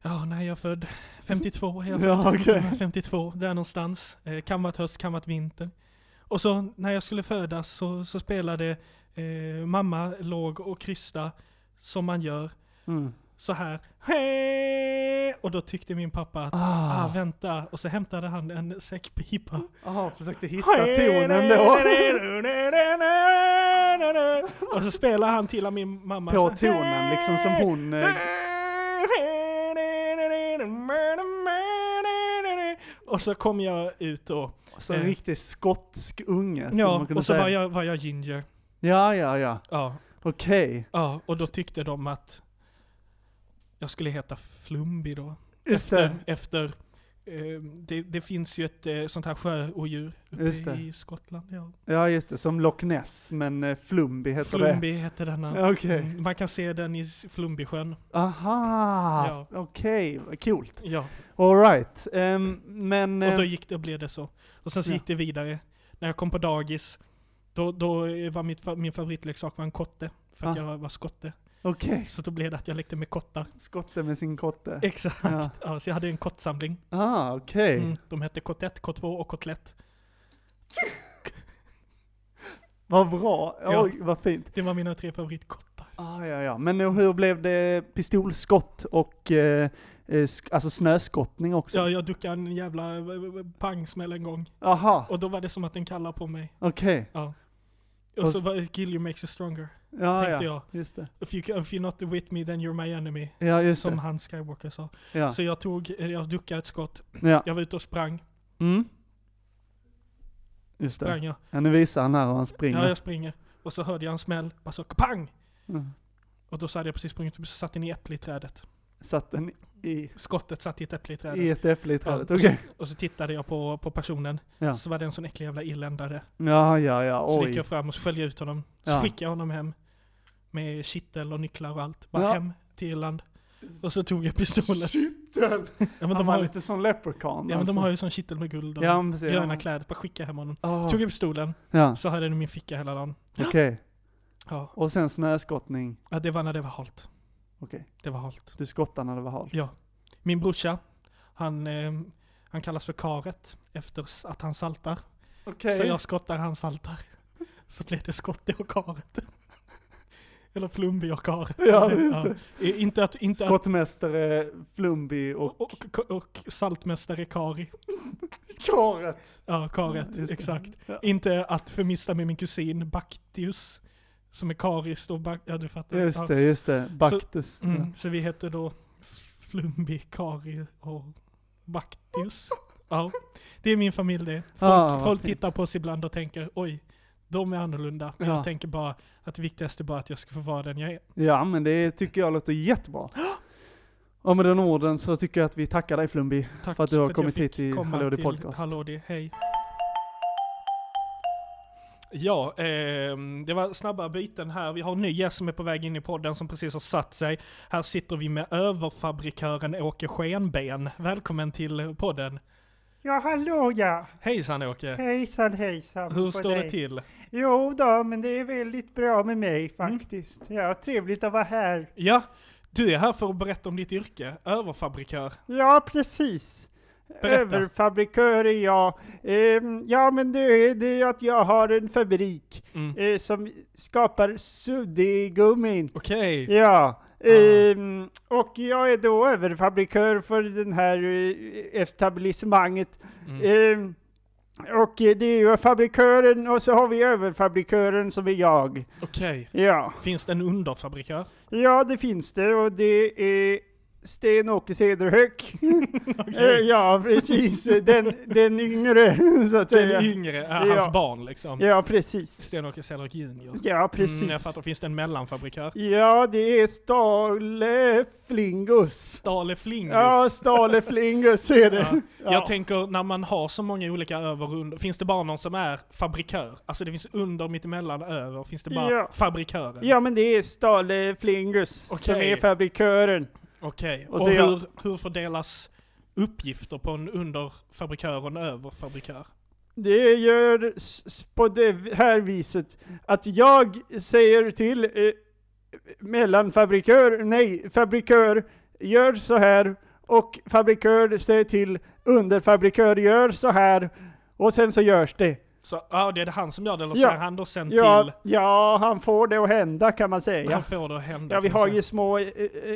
Ja, när jag är född. 52 är jag född. Ja, okej. 52, där någonstans. Eh, kan vara höst, kan vara vinter. Och så när jag skulle födas så, så spelade eh, mamma låg och krysta som man gör. Mm. så här Hej! Och då tyckte min pappa att ah. Ah. vänta, och så hämtade han en säckpipa. Aha, försökte hitta tonen då. (laughs) Och så spelar han till och min mamma På så här, tonen liksom som hon... Eh, Och så kom jag ut då. Alltså Så en Eh. riktig skotsk unge. skulle man Ja, kunna och så säga. var jag, var jag ginger. Ja, ja, ja. Ja, Okej. ja, och då tyckte de att jag skulle heta Flumbi då. Just det. efter, efter eh, det, det finns ju ett eh, sånt här sjöodjur uppe Just det. i Skottland. Ja. Ja, just det. Som Loch Ness, men eh, Flumby heter Flumby heter denna. (laughs) det. Ja, Okej. Mm, Man kan se den i Flumbysjön. Aha! Ah, Okej, vad coolt. Ja. Alright. Ehm, Um, men... Och eh, då gick det, och blev det så. Och sen så Ja. gick det vidare. När jag kom på dagis, Då, då eh, var mitt, fa- min favoritleksak var en kotte, för att Ah. jag var skotte. Okej, Så då blev det att jag lekte med kottar. skotte med sin kotte. Exakt. Ja. Ja, så jag hade en kottsamling. Ah, okej. Eh. Mm, de hette Kott 1, Kott 2 och Kottlett. Vad bra. Ja. Oj, vad fint. Det var mina tre favoritkottar. Ah, ja, ja. Men hur blev det pistolskott och eh, eh, sk- alltså snöskottning också? Ja, jag duckade en jävla eh, eh, pangsmäll en gång. Aha, Och då var det som att den kallade på mig. okej. Och Och så s- Ah, var kill you makes you stronger, Ja, tänkte ja. jag. Just det. If, you, can- if you're not with me then you're my enemy. Ja, just Som det. han Skywalker sa. Ja. Så jag tog, eh, jag duckade ett skott. ja. Jag var ute och sprang. Mm. Just det. Sprang jag. Ja, nu visar han här hur han springer. Ja, jag springer. Och så hörde jag en smäll. Bara så pang! Mm. Och då så hade jag precis sprungit och så satt den i äppelträdet. Satt den i, Skottet satt i ett äppelträd. i ett äpple i trädet. Ja. Okej. Och så tittade jag på, på personen. Ja. Så var det en sån äcklig jävla irländare. Ja, ja, ja. Så gick Oj. jag fram och sköljde ut honom. Så Ja. skickade jag honom hem. Med kittel och nycklar och allt. Bara Ja. hem till Irland. Och så tog jag pistolen. Kittel! Ja, men han de var har, ju- lite som leprechaun. ja, men de alltså. har ju sån kittel med guld och ja, men precis. gröna kläder. Bara skicka hem honom. Ah, Tog jag pistolen, Ja, så hade jag den i min ficka hela dagen. okej. Ja, Och sen snöskottning. Ja, det var när det var halt. Okej. Det var halt. Du skottade när det var halt. Ja. Min brorsa, han, eh, han kallas för Karet efter s- att han saltar. Okej. Så jag skottar, han saltar. Så blev det skotte och karet. Eller Flumby och karet. Ja, just det. Ja. I- Inte att... Inte att Skottmästare Flumby och och, och, och saltmästare Kari. karet. Ja, karet. Ja, just det. exakt. Ja. Inte att förmista med min kusin Baktius. Som är Karis och Bak... Ja, du fattar. Just ja. det, just det. Baktus. Mm, Så vi heter då Flumby, Kari och Baktius. Ja. Det är min familj det. Folk, Ah, vad folk fint. tittar på oss ibland och tänker oj, de är annorlunda. Men Ja. Jag tänker bara att det viktigaste är bara att jag ska få vara den jag är. Ja, men det tycker jag låter (gasps) jättebra. Och med den orden så tycker jag att vi tackar dig Flumby. Tack För att du har kommit jag hit fick till komma Hallå, det till podcast. Hallå, det, hej. Ja, ehm, det var snabba byten här. Vi har en ny gäst som är på väg in i podden som precis har satt sig. Här sitter vi med överfabrikören Åke Skenben. Välkommen till podden. Ja, hallå ja! Hejsan Åke! Hejsan hejsan Hur på står det dig. till? Jo då, men det är väldigt bra med mig Mm. faktiskt. Ja, trevligt att vara här. Ja, du är här för att berätta om ditt yrke, överfabrikör. Ja, precis. Berätta. Överfabrikör är jag. Ehm, ja, men det är det är att jag har en fabrik Mm. eh, som skapar suddgummin. Okej, Ja. Ah. ehm, och jag är då överfabrikör för den här eh, etablissemanget mm. Ehm, och eh, det är ju fabrikören och så har vi överfabrikören som är jag. okej. Ja, Finns det en underfabrikör? ja det finns det och det är Sten-Åke Cederhök. Eh, (laughs) Okej. ja, precis. Den, den yngre, (laughs) så att säga. Den yngre, äh, hans Ja. barn liksom. Ja, precis. Sten-Åke Cederhök Junior. Ja, precis. Mm, jag fattar, finns det en mellanfabrikör? Ja, det är Stale Flingus. Stale Flingus. Ja, Stale Flingus är Ja. det. Ja. Jag tänker när man har så många olika över och under, finns det bara någon som är fabrikör? Alltså det finns under, mittemellan, över, finns det bara Ja. fabrikören? ja, men det är Stale Flingus som Okej. är fabrikören. Okej, Och och, så är jag- hur, hur fördelas uppgifter på en underfabrikör och en överfabrikör? Det gör s- s- på det här viset att jag säger till eh, mellanfabrikör, nej, fabrikör, gör så här och fabrikör säger till underfabrikör, gör så här och sen så görs det. Så ja, det är det han som gör det, eller Ja. säger han då sen Ja, till... ja, han får det att hända kan man säga. Han får det att hända. Ja, vi kan man har säga. ju små eh,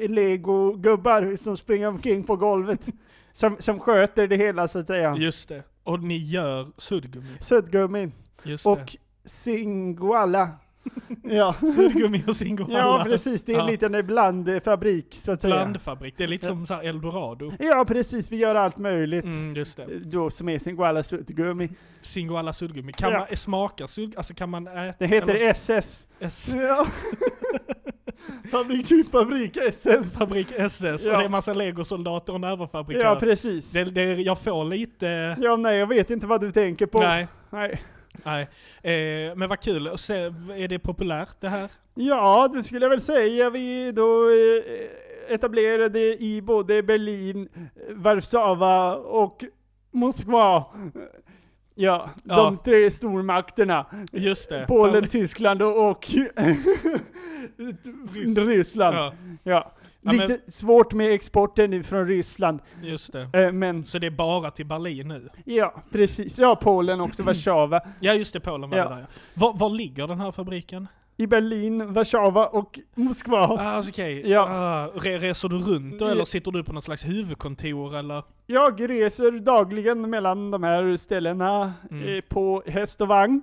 eh, legogubbar som springer omkring på golvet (laughs) som, som sköter det hela så att säga. Just det. Och ni gör suddgummi. Suddgummin Just det. och Singoalla. (laughs) Ja. Suddgummi och singoalla. Ja, precis. Det är en Ja. liten blandfabrik, så att säga. Blandfabrik. Det är lite som så här eldorado. Ja, precis. Vi gör allt möjligt. Mm, just det. Då som är Singoalla suddgummi. Singoalla suddgummi. Kan Ja. man smaka suddgummi? Alltså kan man äta? Det heter eller- SS. S- Ja. fabrik, fabrik SS. Fabrik SS och Ja. det är massa legosoldater och en överfabrikör. Ja, precis. det, det, jag får lite... Ja, nej, jag vet inte vad du tänker på. Nej, Nej. nej. Eh, men vad kul. Och se, är det populärt det här? Ja, det skulle jag väl säga. Vi är då eh, etablerade i både Berlin, eh, Warszawa och Moskva. Ja, de Ja. tre stormakterna. Just det. Polen, Tyskland och, och Ryssland. Ja. Ja, Ja, Lite svårt med exporten nu från Ryssland, just det. eh, men Så det är bara till Berlin nu? ja, precis. Ja, Polen också, Warszawa. Ja just det, Polen var Ja. det där ja. var, var ligger den här fabriken? I Berlin, Warszawa och Moskva. Ah, okej. Ja. Ah, re, reser du runt då Ja. eller sitter du på något slags huvudkontor eller? (laughs) Jag reser dagligen mellan de här ställena Mm. eh, på häst och vagn.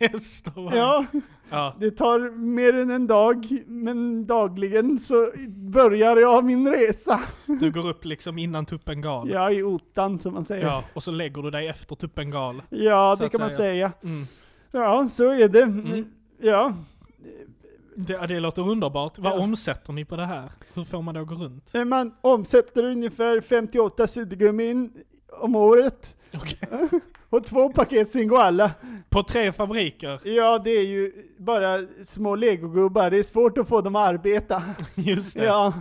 Häst och vagn? Ja, Ja. det tar mer än en dag, men dagligen så börjar jag min resa. Du går upp liksom innan Tupengal? Jag är i ottan som man säger. Ja, Ja, och så lägger du dig efter Tupengal? Så det att kan man säga. Mm. Ja, så är det. Ja, Det, det låter underbart. Vad Ja. omsätter ni på det här? Hur får man då gå runt? Eh, Man omsätter ungefär 58 suddgummin om året. Okej. (laughs) Och två paket Singoalla. På tre fabriker? (laughs) Ja, det är ju bara små legogubbar. Det är svårt att få dem att arbeta. Just det. Ja,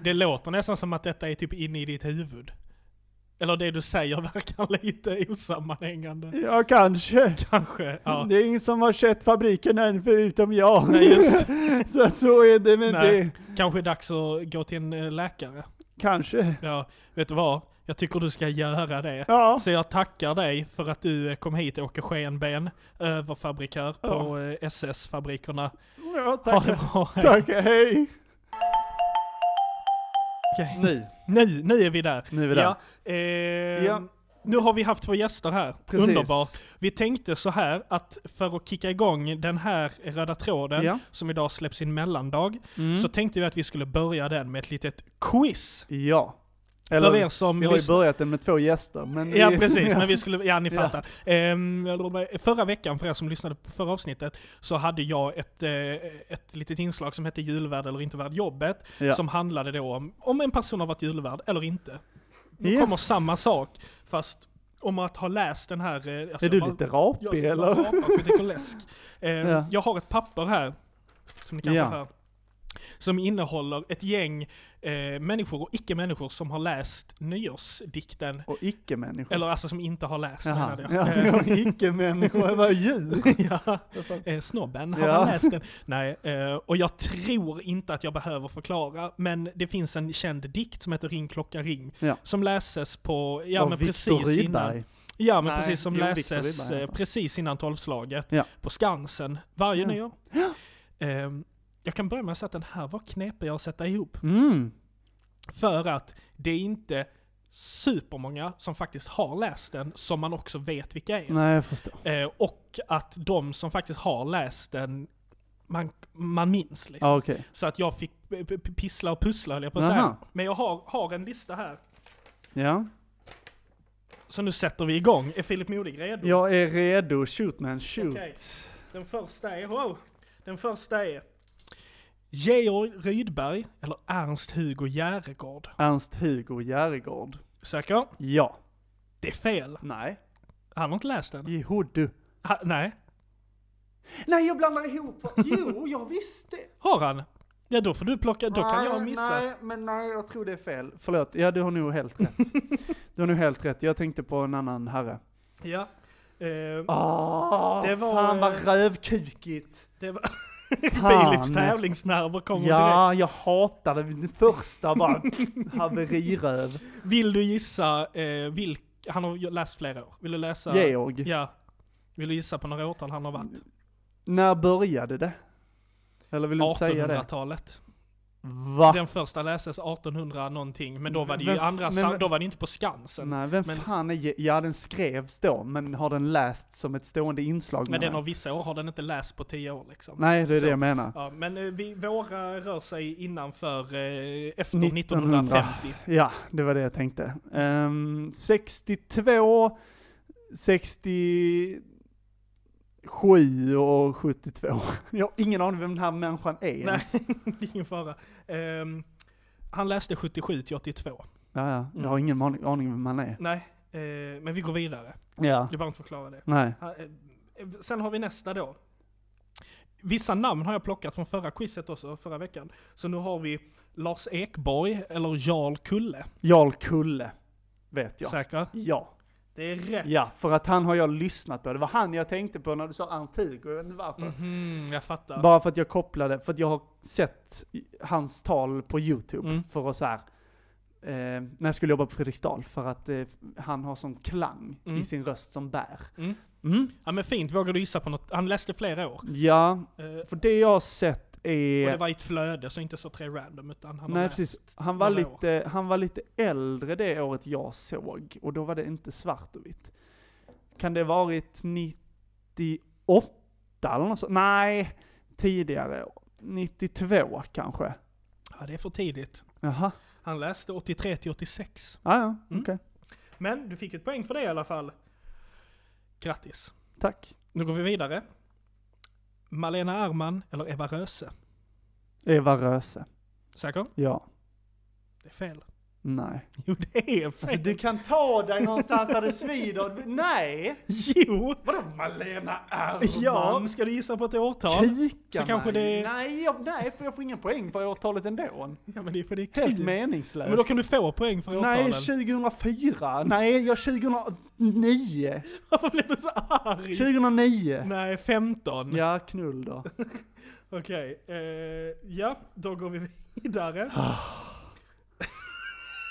Det låter nästan som att detta är typ inne i ditt huvud. Eller det du säger (laughs) verkar lite osammanhängande. ja kanske. Kanske, ja. Mm. Det är ingen som har sett fabriken än förutom jag. Nej, (laughs) just så att så är det med Nej. det. Kanske är dags att gå till en eh, läkare. Kanske. Ja, vet du vad? Jag tycker du ska göra det. Ja, Så jag tackar dig för att du eh, kom hit Åke Skenben, överfabrikör på eh, SS-fabrikerna. ja Ha tack. (laughs) det bra. hej. Tack, hej. Okej. Nu, Nu, nu är vi där. nu är vi där. Ja, ehm, Ja. Nu har vi haft två gäster här. Precis. Underbart. Vi tänkte så här att för att kicka igång den här röda tråden Ja. som idag släpps in mellandag Mm. så tänkte vi att vi skulle börja den med ett litet quiz. ja. för Eller, er som vi har ju lyssnar- börjat den med två gäster, men... Ja vi- precis, men vi skulle, ja ni Ja. fattar. Ehm, jag lovar, förra veckan, för er som lyssnade på förra avsnittet, så hade jag ett, eh, ett litet inslag som hette julvärd eller inte värd jobbet, Ja. som handlade då om om en person har varit julvärd eller inte. Nu Yes. kommer samma sak, fast om att ha läst den här... eh, (laughs) Alltså, Är du bara- lite jag rapig ska bara eller? apa för det (laughs) är kolesk. Ehm, Ja. Jag har ett papper här, som ni kanske Ja. hör, som innehåller ett gäng eh, människor och icke-människor som har läst nyårsdikten Och icke-människa. eller alltså som inte har läst Mm. Jaha. menade jag. Ja, Eh, jag är icke-människa, jag var djur. (laughs) (laughs) ja. Eh, Snobben, har Ja. han läst den? Nej, eh, och jag tror inte att jag behöver förklara, men det finns en känd dikt som heter Ring klocka ring, Ja. som läses på, ja Av men Viktor precis innan, Rydberg. ja men Nej, precis som jo, Viktor läses Rydberg, eh, ja. precis innan tolvslaget Ja. på Skansen varje Ja. nyår. Eh, jag kan börja med att säga att den här var knepig att sätta ihop, Mm. för att det är inte supermånga som faktiskt har läst den, som man också vet vilka är. Nej, jag förstår. Eh, och att de som faktiskt har läst den, man, man minns liksom. Ja, okej. Så att jag fick p- p- pissla och pussla höll jag på att Jaha. säga. Men jag har, har en lista här. Ja. Så nu sätter vi igång. Är Filip Modig redo? Jag är redo, shoot man, shoot. Okej. Den första är, wow, den första är Georg Rydberg, eller Ernst-Hugo Järegård. Ernst-Hugo Järegård. Säker? Ja. Det är fel. Nej. Han har inte läst den. Jihuddu. Ha, nej. Nej, jag blandar ihop. Jo, jag (laughs) visste. Har han? Ja, då får du plocka, då kan jag missa. Nej, men nej, jag tror det är fel. Förlåt, ja du har nog helt (laughs) rätt. du har nog helt rätt, jag tänkte på en annan herre. Ja. Eh, Ah, Det var, fan vad eh, rövkukigt. Det var... (laughs) Fan. Philips tävlingsnerver kommer direkt. Ja, jag hatade den första bara. (laughs) Haveriröv. Vill du gissa, eh, vilk... han har ju läst flera år. Vill du läsa? Georg. Ja. Vill du gissa på några årtal han har varit? När började det? Eller vill du inte säga det? 1800-talet. Va? Den första läses 1800 någonting, men då var det ju Men- andra, men- sam- då var det inte på Skansen. Nej, vem men- fan är Ge- Ja, den skrevs då, men har den lästs som ett stående inslag? Men menar den jag? har vissa år har den inte läst på 10 år liksom. Nej, det är Så. det jag menar. Ja, men eh, vi, våra rör sig innanför, eh, efter 1900. 1950. Ja, det var det jag tänkte. Ehm, 62, 67 och 72. (laughs) Jag har ingen aning vem den här människan är Nej, ens. (laughs) det är ingen fara. Ehm, han läste 77 till 82. Ja, ja, jag Mm. har ingen aning, aning vem han är. Nej, eh, men vi går vidare. Ja. Jag behöver inte förklara det. Nej. Ha- eh, Sen har vi nästa då. Vissa namn har jag plockat från förra quizet också, förra veckan. Så nu har vi Lars Ekborg, eller Jarl Kulle. Jarl Kulle, vet jag. Säkra? Ja. Det är rätt. Ja, för att han har jag lyssnat på. Det var han jag tänkte på när du sa Ernst Hugo, jag vet inte varför. Mhm, jag fattar. Bara för att jag kopplade, för att jag har sett hans tal på YouTube Mm. för att så här. Eh, när jag skulle jobba på Fredriksdal, för att eh, han har sån klang Mm. i sin röst som bär. Mm. Mm. ja men fint, vågar du gissa på något? Han läste flera år. Ja, Eh, och för det jag har sett är... det var i ett flöde, så inte så tre random, utan han har Nej läst. precis, han var, några år. lite, han var lite äldre det året jag såg, och då var det inte svart och vitt. Kan det varit 98 eller något sånt? Nej, tidigare. 92 kanske? Ja, det är för tidigt. Jaha, Han läste 83 till 86. ah, ja, okej. Mm. Men du fick ett poäng för det i alla fall. Grattis. Tack. Nu går vi vidare. Malena Arman eller Eva Röse? Eva Röse. Säker? Ja. Det är fel. (laughs) Nej. Jo, det är fel. Alltså, du kan ta dig någonstans där det svider. Nej! Jo! Vadå Malena Ernman? Ja, men ska du gissa på ett årtal? Kika Så kanske mig. det- Nej, jag, nej, för jag får ingen poäng för årtalet ändå. Ja, men det är för det är Helt kul. meningslöst. Men då kan du få poäng för årtalen. Nej, 2004. Nej, jag 2009. (laughs) Varför blev du så arg? 2009. Nej, 15. Ja, knull då. Okej, eh, ja, då går vi (laughs) vidare.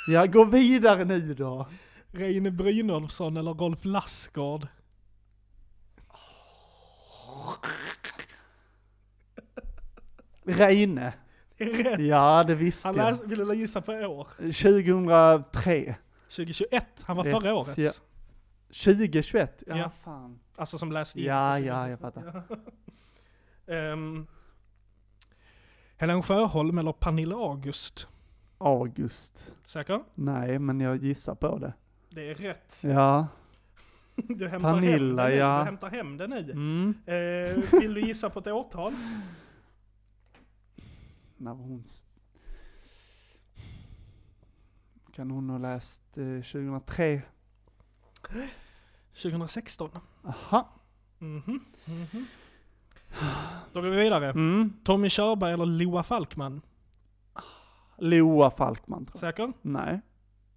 Ja, gå vidare nu då. Reine Brynolfsson eller Rolf Lassgård? Reine. Det är rätt. Ja, det visste Han jag. läs, ville du gissa på år? 2003. 2021, han var Rätt, förra året. ja. 2021. Ja. Ja, fan. Alltså som läste in. Ja, ja, jag fattar. Ehm, Helen Sjöholm eller Pernilla August? August. Säker? Nej, men jag gissar på det. Det är rätt. (laughs) Ja. Du hämtar Pernilla, hem det nu. ja. Du hämtar hem det nu. Mm. Eh, vill du gissa på (laughs) ett årtal? När var hon... s- Kan hon ha läst eh, 2003? 2016. Aha. Mhm. Mhm. Då går vi vidare. Mm. Tommy Körberg eller Loa Falkman? Loa Falkman tror jag. Säker? Nej.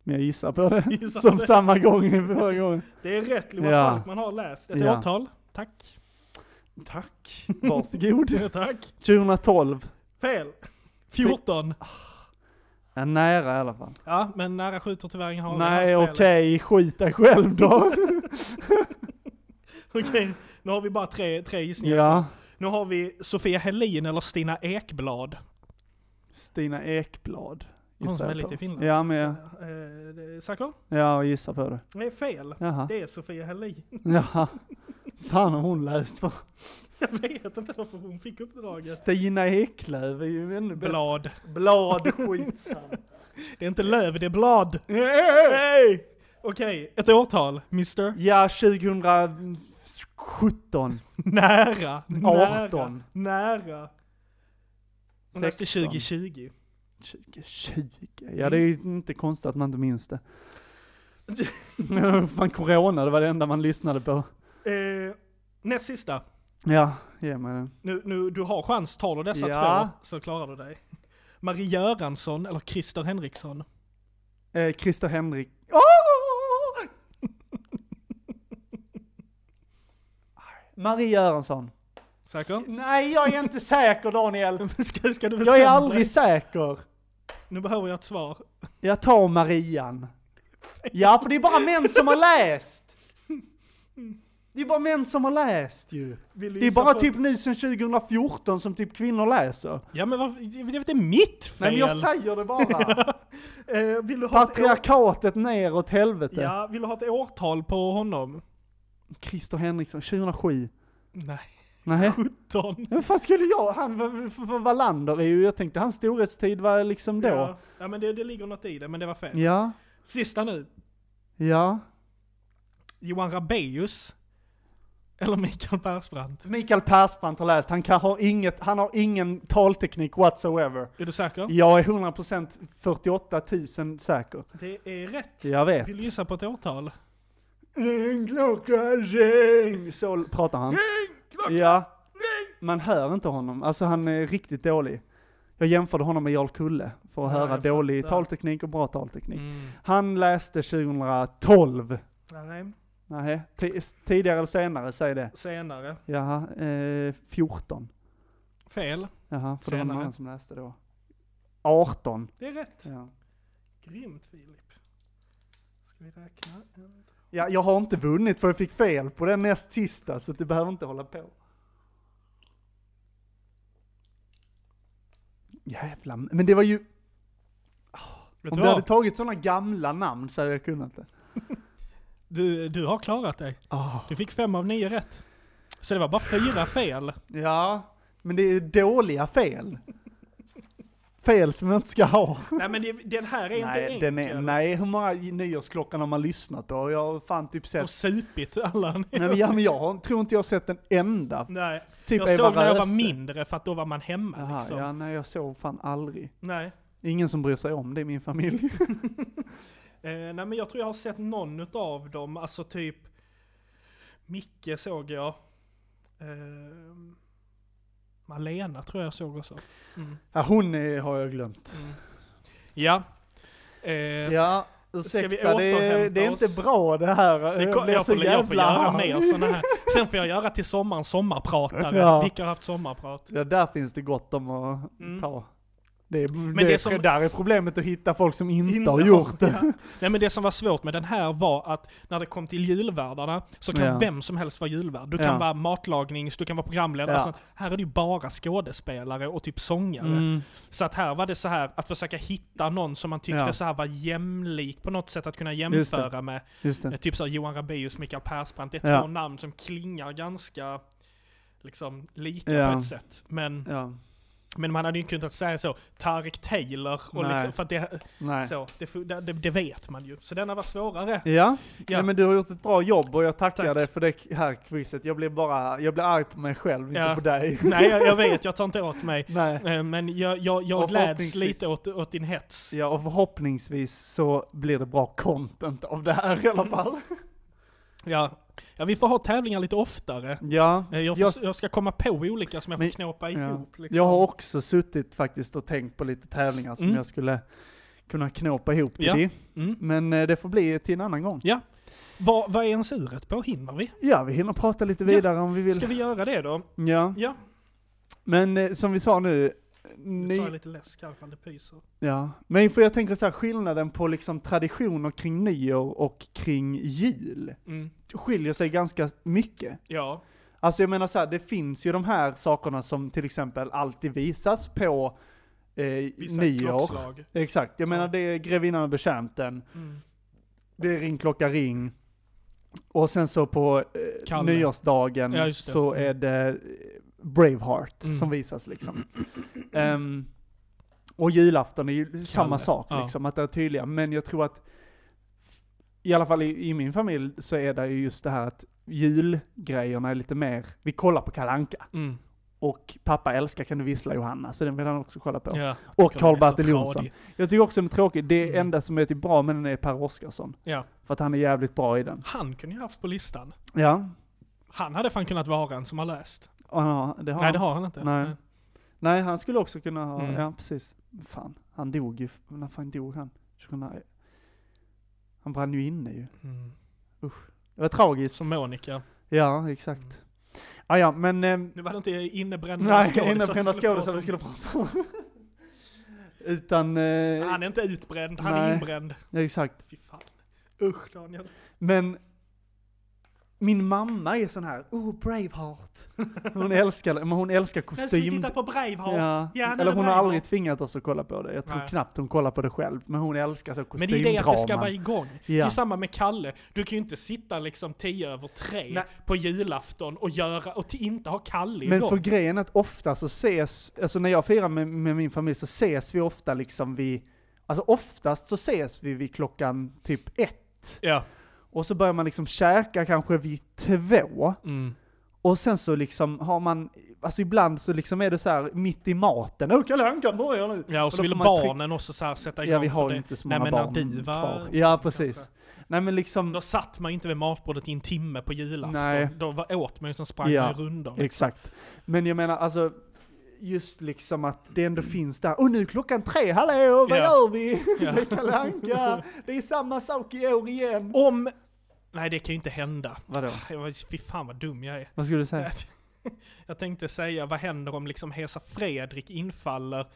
Men jag gissar på det. Gissar Som det. samma gång i förra gången. Det är rätt, Loa Ja. Falkman har läst. Ett Ja. årtal? Tack. Tack. Varsågod. Tack. 2012. Fel. 14. Är nära i alla fall. Ja, men nära skjuter tyvärr ingen hagel. Han Nej spelar. okej, skit dig själv (laughs) då. (laughs) Okej, nu har vi bara tre, tre gissningar. ja. Nu har vi Sofia Helin eller Stina Ekblad. Stina Ekblad. Hon som jag är lite på. i Finland. Ja, men jag, Eh, det är Säker? ja, jag gissar på det. Det är fel. Jaha. Det är Sofia Helin. (laughs) Jaha. Fan har hon läst för? Jag vet inte varför hon fick uppdraget. Stina Eklöf är ju ännu bättre. Blad. Blad, (laughs) skitsam. Det är inte löv, det är blad. Hey! Okej, ett årtal, mister. Ja, 2017. (laughs) Nära. 18. Nära. nära. Hon läste 16. 2020. 2020. Ja det är Mm. ju inte konstigt att man inte minns (laughs) det. Fan corona, det var det enda man lyssnade på. Eh, näst sista. Ja, ge mig den. Nu, nu, du har chans, tar du dessa Ja. två så klarar du dig. Marie Göransson eller Christer Henriksson? Eh, Christer Henrik. Åh! Marie Göransson. Säker? (laughs) Nej, jag är inte säker (laughs) Daniel. Ska, ska Jag du är bestämma aldrig dig? säker. Nu behöver jag ett svar. Jag tar Marian. (laughs) Ja, för det är bara män som har läst. Det är bara män som har läst ju. Vill du Det är gissa bara på- typ nu sedan 2014 som typ kvinnor läser. Ja men varför, det är inte mitt fel! Nej men jag säger det (laughs) bara. eh, vill, du ha ett år, Patriarkatet ner åt helvete. ja, vill du ha ett årtal på honom? Christer Henriksson, 2007. Nej, (laughs) Nej. 17. Vad fan skulle jag, han, för- för- för Wallander är ju, jag tänkte hans storhetstid var liksom då. Ja, ja men det, det ligger något i det, men det var fel. Ja, Sista nu. ja. Johan Rabaeus eller Mikael Persbrandt? Mikael Persbrandt har läst, han, kan, har, inget, han har ingen talteknik whatsoever. Är du säker? Jag är 100% 48 000 säker. Det är rätt. Jag vet. Vill du gissa på ett årtal? Ring klockan ring! Så pratar han. Ja. Man hör inte honom, alltså han är riktigt dålig. Jag jämförde honom med Jarl Kulle för att Ja, höra jag dålig fattar. Mm. talteknik och bra talteknik. Han läste 2012. Nej, Nej, ti- tidigare eller senare, säg det. senare. Jaha, eh, 14. Fel. Jaha, för det var någon Senare. annan som läste då. 18. Det är rätt. Ja. Grymt Filip. Ska vi räkna? En, två. Ja, jag har inte vunnit för jag fick fel på den näst sista, så att du behöver inte hålla på. Jävlar, men det var ju... Vet Om du du hade vad? tagit sådana gamla namn så hade jag kunnat det. Du, du har klarat dig. Du fick fem av nio rätt. Så det var bara fyra fel. Ja, men det är dåliga fel. Fel som jag inte ska ha. Nej men det, den här är inte Nej, enkel. den är, nej, hur många nyårsklockan har man lyssnat på? Jag har fan typ Och sett... supit alla. Nej, men, ja, men jag har- tror inte jag har sett en enda. Nej. Typ jag Eva såg när jag var Röse. mindre för att då var man hemma Jaha, liksom. ja, nej jag sov fan aldrig. Nej. Ingen som bryr sig om det i min (laughs) familj. Eh, nej men jag tror jag har sett någon av dem, alltså typ Micke såg jag. Eh, Malena tror jag såg också. Mm, Ja, hon är, har jag glömt. mm. Ja. Eh, Ja, Ska vi ursäkta, det, återhämta det är oss? inte bra det här. det jag ko- blir jag, så får, jag får jävla göra arg. mer sådana här. Sen får jag göra till sommaren sommarpratare. Ja. Dick har haft sommarprat. Ja, där finns det gott om att Mm. ta. Det, är- Men det, det är- som- Där är problemet att hitta folk som inte, Inte har har- gjort det. Nej men det som var svårt med den här var att när det kom till julvärdarna så kan Ja. vem som helst vara julvärd. Du kan Ja. vara matlagnings, du kan vara programledare. Ja. Sånt. Här är det ju bara skådespelare och typ sångare. Mm, Så att här var det så här att försöka hitta någon som man tyckte Ja. så här var jämlik på något sätt att kunna Just det. jämföra med. Just det. Eh, Typ så här Johan Rabaeus, Mikael Persbrandt. Det är Ja. två namn som klingar ganska liksom lika Ja. på ett sätt. Men, Ja, men man hade ju inte kunnat säga så, Tarek Taylor och Nej. liksom, för att det, nej. så, det, fu- det, det vet man ju. Så denna (laughs) var svårare. Ja, Ja. Nej, men du har gjort ett bra jobb och jag tackar Tack. dig för det här quizet. Jag blir bara, jag blir arg på mig själv, inte Ja. på (laughs) dig. Nej, jag, jag vet, jag tar inte åt mig. Nej. Eh, Men jag, jag, jag Och gläds förhoppningsvis- lite åt, åt din hets. Ja, och förhoppningsvis så blir det bra content av det här i alla fall. Ja. ja, vi får ha tävlingar lite oftare. (laughs) Ja, Eh, Jag, får, jag, jag, ska komma på olika som jag får Men- knåpa ja. ihop. Liksom. jag har också suttit faktiskt och tänkt på lite tävlingar som Mm. jag skulle kunna knåpa ihop till Ja. det. Mm. Men eh, det får bli till en annan gång. Vad, vad är ens uret på? Hinner vi? Ja, vi hinner prata lite Ja. vidare om vi vill. Ska vi göra det då? Ja, Ja. men eh, som vi sa nu, Nu tar ny... jag lite läsk här ifall det pyser. Ja, men för jag tänker så här skillnaden på liksom traditioner kring nyår och kring jul Mm. skiljer sig ganska mycket. Ja. Alltså jag menar så här, det finns ju de här sakerna som till exempel alltid visas på eh, Vissa nyår. klockslag. Exakt, jag menar Ja. det är Grevinnan och betjänten, Mm. det är Ring klocka ring. Och sen så på eh, Kalle. nyårsdagen Ja, just det. så Mm. är det eh, Braveheart Mm. som visas liksom. Ehm, och julafton är ju samma sak Ja. liksom, att det är tydliga. Men jag tror att, i alla fall i, i min familj, så är det ju just det här att julgrejerna är lite mer, vi kollar på Kalanka Mm. och pappa älskar Kan du vissla Johanna, så den vill han också kolla på. Ja. Och Tycker hon är så Karl-Bertil Jonsson. tradig. Jag tycker också den är tråkig, det Mm. enda som är typ bra med den är Per Oscarsson. Ja. För att han är jävligt bra i den. Han kunde ju haft på listan. Ja, Han hade fan kunnat vara en som har läst. och han har, det har Nej, han. det har han inte. Nej. Nej, han skulle också kunna ha, Mm. ja precis. Fan, han dog ju, när fan dog han? 2000 Han brann ju inne ju. Mm. Det var tragiskt. Som Monica. Mm. Ja, exakt. Ah, ja, men... ehm, Nu var det inte (laughs) innebrända nej, skådisar innebrända vi skulle skådisar vi prata skulle prata om. om. (laughs) Utan, eh, Han är inte utbränd, han Nej. är inbränd. exakt. Fy fan. Usch Daniel. Men, min mamma är sån här, oh Braveheart. (laughs) Hon älskar, men hon älskar Nu ska vi kostym. titta på Braveheart. Ja. Ja, nu är Eller det hon har Braveheart. aldrig tvingat oss att kolla på det. Jag tror Nej. knappt hon kollar på det själv. Men hon älskar så Men det är det att det ska vara kostymdraman. igång. Det Ja. är samma med Kalle. Du kan ju inte sitta liksom tio över tre Nej. på julafton och göra, och till inte ha Kalle Men igång. för grejen är att ofta så ses, alltså när jag firar med, med min familj så ses vi ofta liksom vid, alltså oftast så ses vi vid klockan typ ett. Ja. Och så börjar man liksom käka kanske vid två. Mm. Och sen så liksom har man, alltså ibland så liksom är det så här mitt i maten, åh Kalle Anka börjar nu! ja, och så då vill får man barnen också så här sätta igång. Ja vi har för ju det. inte så Nej, många men när barn du var- kvar. Ja precis. kanske. Nej men liksom, Då satt man ju inte vid matbordet i en timme på julafton. Nej. Då var, åt man ju, sen sprang Ja. man i rundor. Exakt. Men jag menar alltså, just liksom att det ändå finns där. Och nu är klockan tre, hallå, vad (laughs) Mm. Ja. gör vi? Ja. Det är Kalle Anka, det är samma sak i år igen. Om Nej, det kan ju inte hända. Vadå? Jag var, fy fan vad dum jag är. Vad skulle du Äh. säga? (laughs) Jag tänkte säga, vad händer om liksom Hesa Fredrik infaller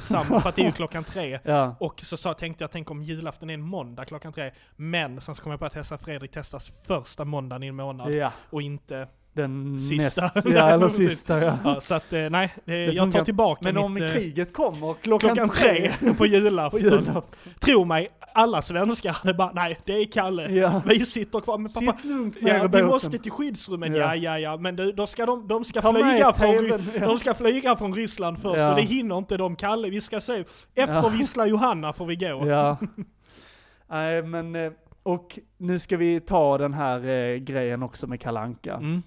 (laughs) samma, för att det är ju klockan tre. Ja. Och så sa, tänkte jag, tänk om julafton är en måndag klockan tre. Men sen så kom jag på att Hesa Fredrik testas första måndagen i en månad Ja, och inte... den Sista. näst, (laughs) ja Nej, eller precis. sista ja. Ja, så att eh, nej, eh, jag funkar. tar tillbaka Men mitt... om eh, kriget kommer klockan, klockan tre (laughs) (laughs) på på julafton. julafton. Tro mig, alla svenskar hade bara, nej det är Kalle. Ja. Vi sitter kvar med Eh, pappa. Sitt lugnt ner Ja, i vi båten. måste till skyddsrummet, ja ja ja. Men du, då ska de, de, ska Ta med flyga från, TV:n, Ry- ja. de ska flyga från Ryssland först Ja. och det hinner inte de. Kalle, vi ska se. Efter Ja. vissla Johanna får vi gå. Ja. Nej men, eh, och nu ska vi ta den här eh, grejen också med Kalanka Mm.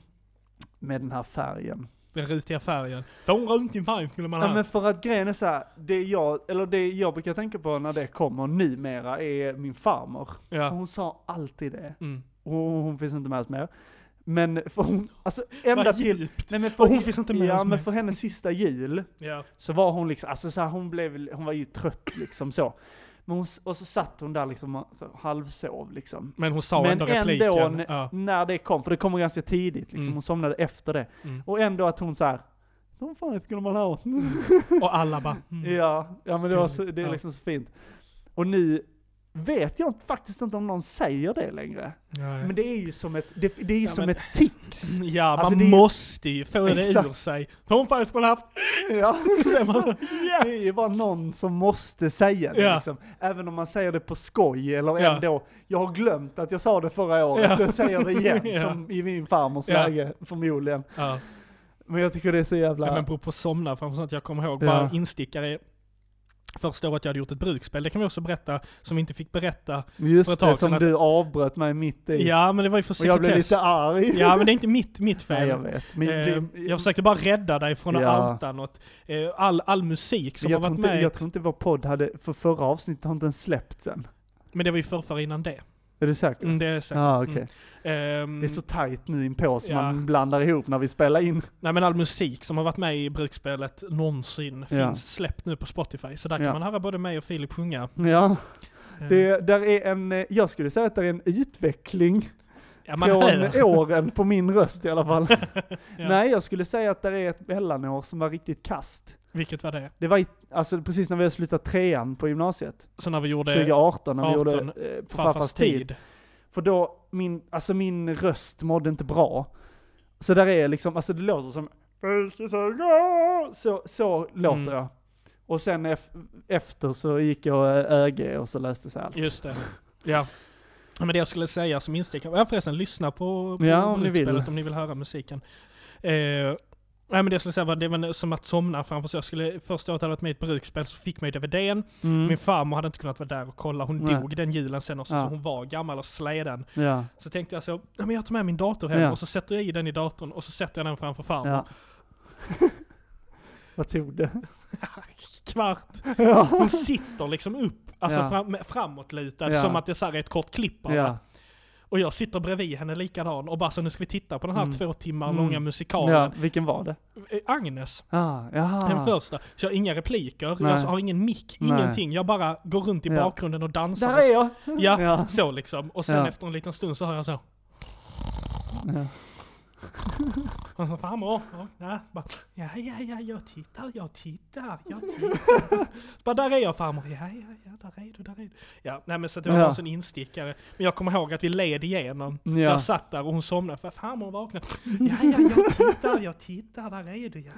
Med den här färgen. Den rutiga färgen. Får runt i färg skulle man Ja, ha. men för att grejen är så här, det jag, eller det jag brukar tänka på när det kommer numera är min farmor. Ja. Hon sa alltid det. Mm. Och hon finns inte med oss mer. Men för hon, alltså ända Vad till... djupt. Nej, men för, Och hon finns inte med Ja oss men mer. för hennes sista jul Ja. så var hon liksom, alltså så här, hon blev, hon var ju trött liksom så. Men hon, s- och så satt hon där liksom och så, halvsov liksom. Men hon sa Men ändå repliken. ändå n- ja. när det kom, för det kommer ganska tidigt liksom, Mm. hon somnade efter det. Mm. Och ändå att hon så här, de fan skulle man ha? (laughs) Och alla bara... Mm. (laughs) Ja, Mm. ja men det, var så, Gulligt, det är ja. liksom så fint. Och nu vet jag faktiskt inte om någon säger det längre. Ja, ja. Men det är ju som ett, det, det är ju Ja, som men- ett tics. (laughs) Ja, Alltså, man det är ju- måste ju få det ur Exakt. sig. För hon faktiskt skulle ha haft... (laughs) Ja, säger man så. det är ju bara någon som måste säga det Ja. liksom. Även om man säger det på skoj eller Ja. ändå, jag har glömt att jag sa det förra året Ja. så jag säger det (laughs) igen Ja. som i min farmors Ja. läge förmodligen. Ja. Men jag tycker det är så jävla... Ja, men beror på somna framför allt. Jag kommer ihåg Ja. bara instickare. Första året jag hade gjort ett brukspel, det kan vi också berätta, som vi inte fick berätta. för ett Just tag det, som sedan att- du avbröt mig mitt i. Ja, men det var ju för och jag blev sekretess. lite arg. Ja, men det är inte mitt, mitt fel. (laughs) Nej, jag vet. Men Eh, det, jag försökte bara rädda dig från att Ja. outa något. Eh, All, all musik som Men jag har tror, varit inte, med. jag tror inte vår podd hade, för förra avsnittet har inte ens släppts än. Men det var ju förrförra innan det. Är du säker? Mm, det är säkert. ah, okej. Mm. Ehm, Det är så tajt nu inpå som Ja. man blandar ihop när vi spelar in. (laughs) Nej men all musik som har varit med i brukspelet någonsin Ja. finns släppt nu på Spotify. Så där kan Ja. man höra både mig och Filip sjunga. Ja, Eh, det, där är en, eh, jag skulle säga att det är en utveckling ja, man hör. från åren på min röst i alla fall. (laughs) Ja. Nej, jag skulle säga att det är ett mellanår som var riktigt kast. (laughs) Vilket var det? Det var i, alltså precis när vi hade slutat trean på gymnasiet, Så när vi gjorde 2018, när vi 18, gjorde eh, på farfars tid. För då, min, alltså min röst mådde inte bra. Så där är liksom, alltså det låter som så, så låter Mm. jag. Och sen ef- efter så gick jag eh, ÖG och så läste jag allt. Just det. Ja. Men det jag skulle säga som instick, ja förresten, lyssna på, på Ja, om ni vill. brukspelet om ni vill höra musiken. Eh, nej men det jag skulle säga var, det var som att somna framför sig. Jag skulle, första året jag hade varit med i ett brukspel så fick man ju DVDn. Mm. Min farmor hade inte kunnat vara där och kolla, hon Nej. dog den julen sen också, Ja. så hon var gammal och släden. Ja, Så tänkte jag så, ja, men jag tar med min dator hem Ja. och så sätter jag i den i datorn och så sätter jag den framför farmor. ja. (laughs) Vad tog det? Kvart. ja. Hon sitter liksom upp, alltså Ja. fram, framåtlutad, Ja. som att det så här är ett kort klipp bara. ja. Och jag sitter bredvid henne likadan och bara så nu ska vi titta på den här Mm. två timmar Mm. långa musikalen. ja, vilken var det? Eh, Agnes, Ah, jaha. den första. Så jag har inga repliker, Nej. jag har ingen mick, Nej. ingenting. Jag bara går runt i Ja. bakgrunden och dansar. Där är jag! Ja, Ja. så liksom. Och sen Ja. efter en liten stund så hör jag så. Ja. Och så, Farmor, ja, ja, bara, ja, ja, ja, jag tittar, jag tittar, (laughs) jag tittar. bara, där är jag farmor, ja, ja, ja, där är du, där är du. Ja, nej men så att det var Ja. bara en sån instickare. Men jag kommer ihåg att vi led igenom. Ja. Jag satt där och hon somnade, för farmor vaknade. Ja, ja, jag tittar, jag tittar, där är du, ja,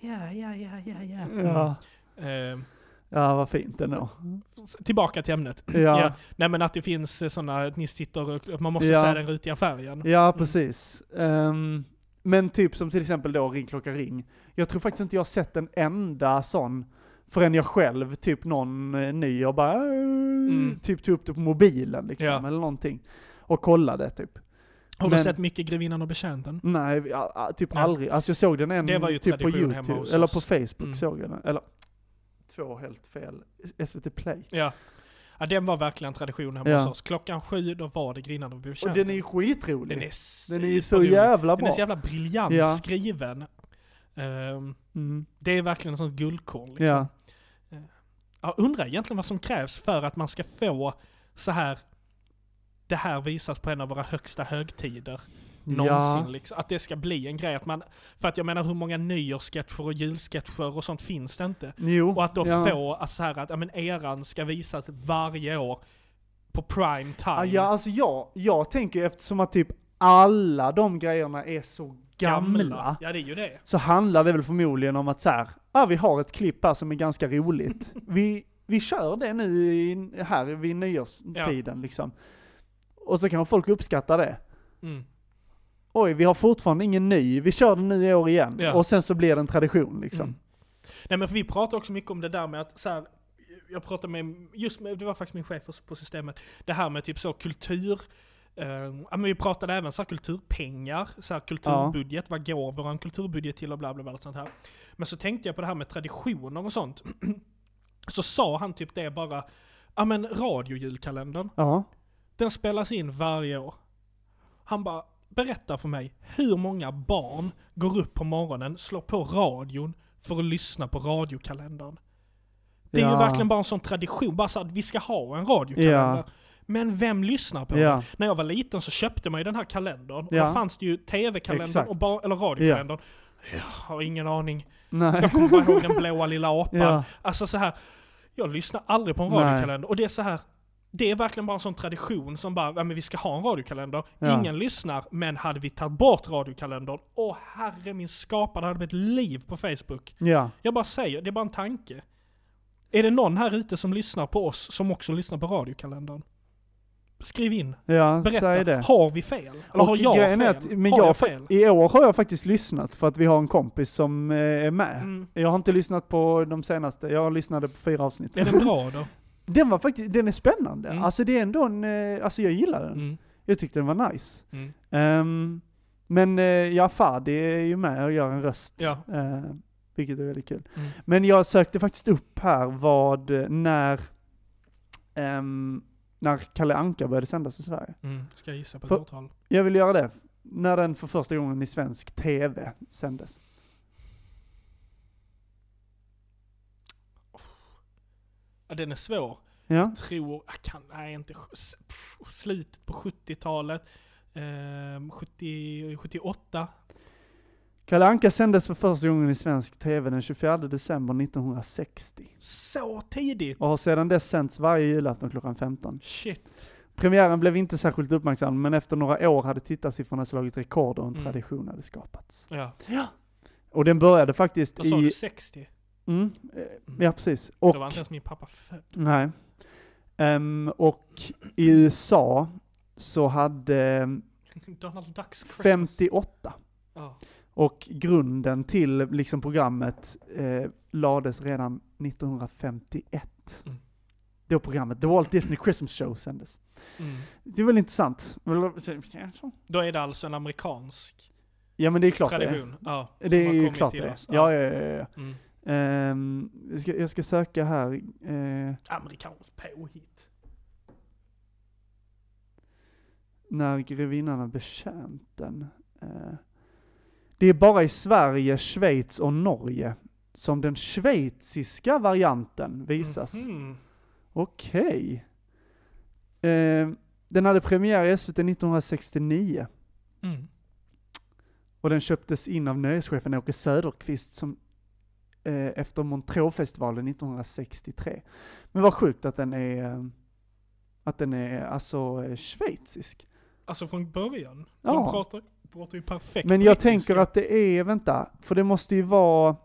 ja, ja, ja, ja. ja. Ja. Eh, ja, vad fint ändå. tillbaka till ämnet. Ja. Ja, Nej men att det finns eh, såna, att ni sitter och att man måste Ja. säga den rutiga färgen. ja precis. Ehm, men typ som till exempel då Ring klocka ring. Jag tror faktiskt inte jag har sett en enda sån förrän jag själv, typ någon eh, ny, och bara "Äh", typ tog upp det på mobilen liksom, Mm. Ja. eller någonting. Och kollade typ. Har Men- du sett mycket Grevinnan och betjänten? Nej, vi- a- a- typ Ja. aldrig. Alltså jag såg den en Det var ju typ på tradition hemma YouTube, hos eller oss. på Facebook Mm. såg jag den. Eller två helt fel. SVT Play. Ja. ja, den var verkligen tradition hemma Ja. hos oss. Klockan sju, då var det Grinnarna och Och Betjänten. den är ju skitrolig. den är, Den är ju så superrolig. jävla Den bra. är så jävla briljant Ja. skriven. Ehm, Mm. det är verkligen ett sånt guldkorn liksom. Ja. Jag undrar egentligen vad som krävs för att man ska få så här det här visas på en av våra högsta högtider. Någonsin Ja, liksom. Att det ska bli en grej. Att man, för att jag menar hur många nyårssketcher och julsketcher och sånt finns det inte. jo. Och att då ja. få att så här att ja, men eran ska visas varje år på prime time. Ah, Ja, alltså jag, jag tänker eftersom att typ alla de grejerna är så gamla. Ja det är ju det. Så handlar det väl förmodligen om att så här, ah, vi har ett klipp här som är ganska (laughs) roligt. Vi, vi kör det nu i, här vid nyårstiden liksom. Och så kan folk uppskatta det. Mm. Oj, vi har fortfarande ingen ny, vi kör den nu i år igen. Ja. Och sen så blir det en tradition liksom. Mm. Nej men för vi pratar också mycket om det där med att så här, jag pratade med, just med, det var faktiskt min chef på systemet, det här med typ så kultur, eh, ja men vi pratade även så här kulturpengar, så här kulturbudget, vad går vår kulturbudget till och bla bla bla och sånt här. Men så tänkte jag på det här med traditioner och sånt. (clears throat) Så sa han typ det bara, ja men radiojulkalendern, Ja. den spelas in varje år. Han bara, berätta för mig hur många barn går upp på morgonen, slår på radion för att lyssna på radiokalendern. Det är ju Ja. verkligen bara en sån tradition, bara så att vi ska ha en radiokalender. Ja. Men vem lyssnar på Ja. den? När jag var liten så köpte man ju den här kalendern. Och Ja. där fanns det ju tv-kalendern Exakt. och bar- eller radiokalendern. Jag har ingen aning. Nej. Jag kommer bara ihåg den blåa lilla apan. Ja. Alltså så här, jag lyssnar aldrig på en Nej. radiokalender. Och det är så här, det är verkligen bara en sån tradition som bara, ja, men vi ska ha en radiokalender. Ja. Ingen lyssnar, men hade vi tagit bort radiokalendern, åh herre min skapare, det hade blivit liv på Facebook. Ja. Jag bara säger, det är bara en tanke. Är det någon här ute som lyssnar på oss som också lyssnar på radiokalendern? Skriv in, Ja, säg berätta. det. Har vi fel? Eller har jag fel? grejen är att- men har jag jag fa- fel? I år har jag faktiskt lyssnat för att vi har en kompis som eh, är med. Mm. Jag har inte lyssnat på de senaste, jag lyssnade på fyra avsnitt. Är den (laughs) bra då? Den var faktiskt, den är spännande. Mm. Alltså det är ändå en, eh, alltså jag gillar den. Mm. Jag tyckte den var nice. Mm. Ehm, men eh, ja, Fadi är ju med och gör en röst. Ja. Ehm, vilket är väldigt kul. Mm. Men jag sökte faktiskt upp här vad, eh, när, ehm, när Kalle Anka började sändas i Sverige. Mm. Ska jag gissa på ett För- årtal? Jag vill göra det. När den för första gången i svensk TV sändes. Ja, den är svår. Ja, tror, jag kan, nej inte, sj- s- pff, slutet på 70-talet, ehm, 70, 78. Kalle Anka sändes för första gången i svensk TV den 24 december 1960. Så tidigt! Och har sedan dess sänts varje julafton klockan 15. Shit. Premiären blev inte särskilt uppmärksammad, men efter några år hade tittarsiffrorna slagit rekord och en Mm. tradition hade skapats. Ja. Och den började faktiskt Vad sa i... du, 60? Mm, eh, ja, precis. Och, Då var inte ens min pappa född. nej. Ehm, och i USA så hade eh, (laughs) Donald Ducks Christmas. 58 Ja. Och grunden till liksom programmet eh, lades redan 1951. Mm. Då programmet The Walt Disney Christmas Show sändes. Mm. Det är väl intressant? Då är det alltså en amerikansk Ja men det är klart tradition. Ja, det är. som Det är har ju kommit klart till det är. oss. Ja, ja, ja. ja. Mm. Ehm, jag, ska, jag ska söka här. Eh, Amerikanskt påhitt. när grevinnan har bekänt den. Eh, det är bara i Sverige, Schweiz och Norge som den schweiziska varianten visas. Mhm. Okej. Eh, den hade premiär i SVT 1969 Mm. och den köptes in av nöjeschefen Åke Söderqvist som eh, efter Montreux-festivalen 1963. Men vad sjukt att den är eh, att den är alltså eh, schweizisk. Alltså från början. Ja. De pratar, pratar ju perfekt Men jag brittiska. tänker att det är, vänta, för det måste ju vara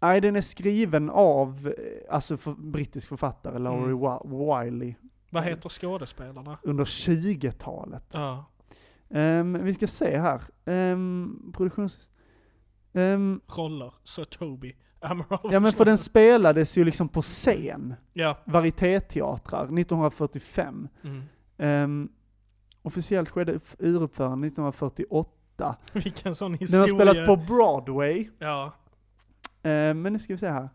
Nej, den är skriven av, eh, alltså för, brittisk författare, Laurie Mm. Wa- Wiley, Vad heter skådespelarna? under 20-talet. Ja. Ehm, vi ska se här. Um, produktions... Ehm, Roller. Sir Toby. Emerald. ja men för den spelades ju liksom på scen. (laughs) Ja. Varietéteatrar 1945. Mm. Ehm, officiellt skedde upp- uruppförandet 1948. Vilken sån Den historia. har spelats på Broadway. Ja, Ehm, men nu ska vi se här.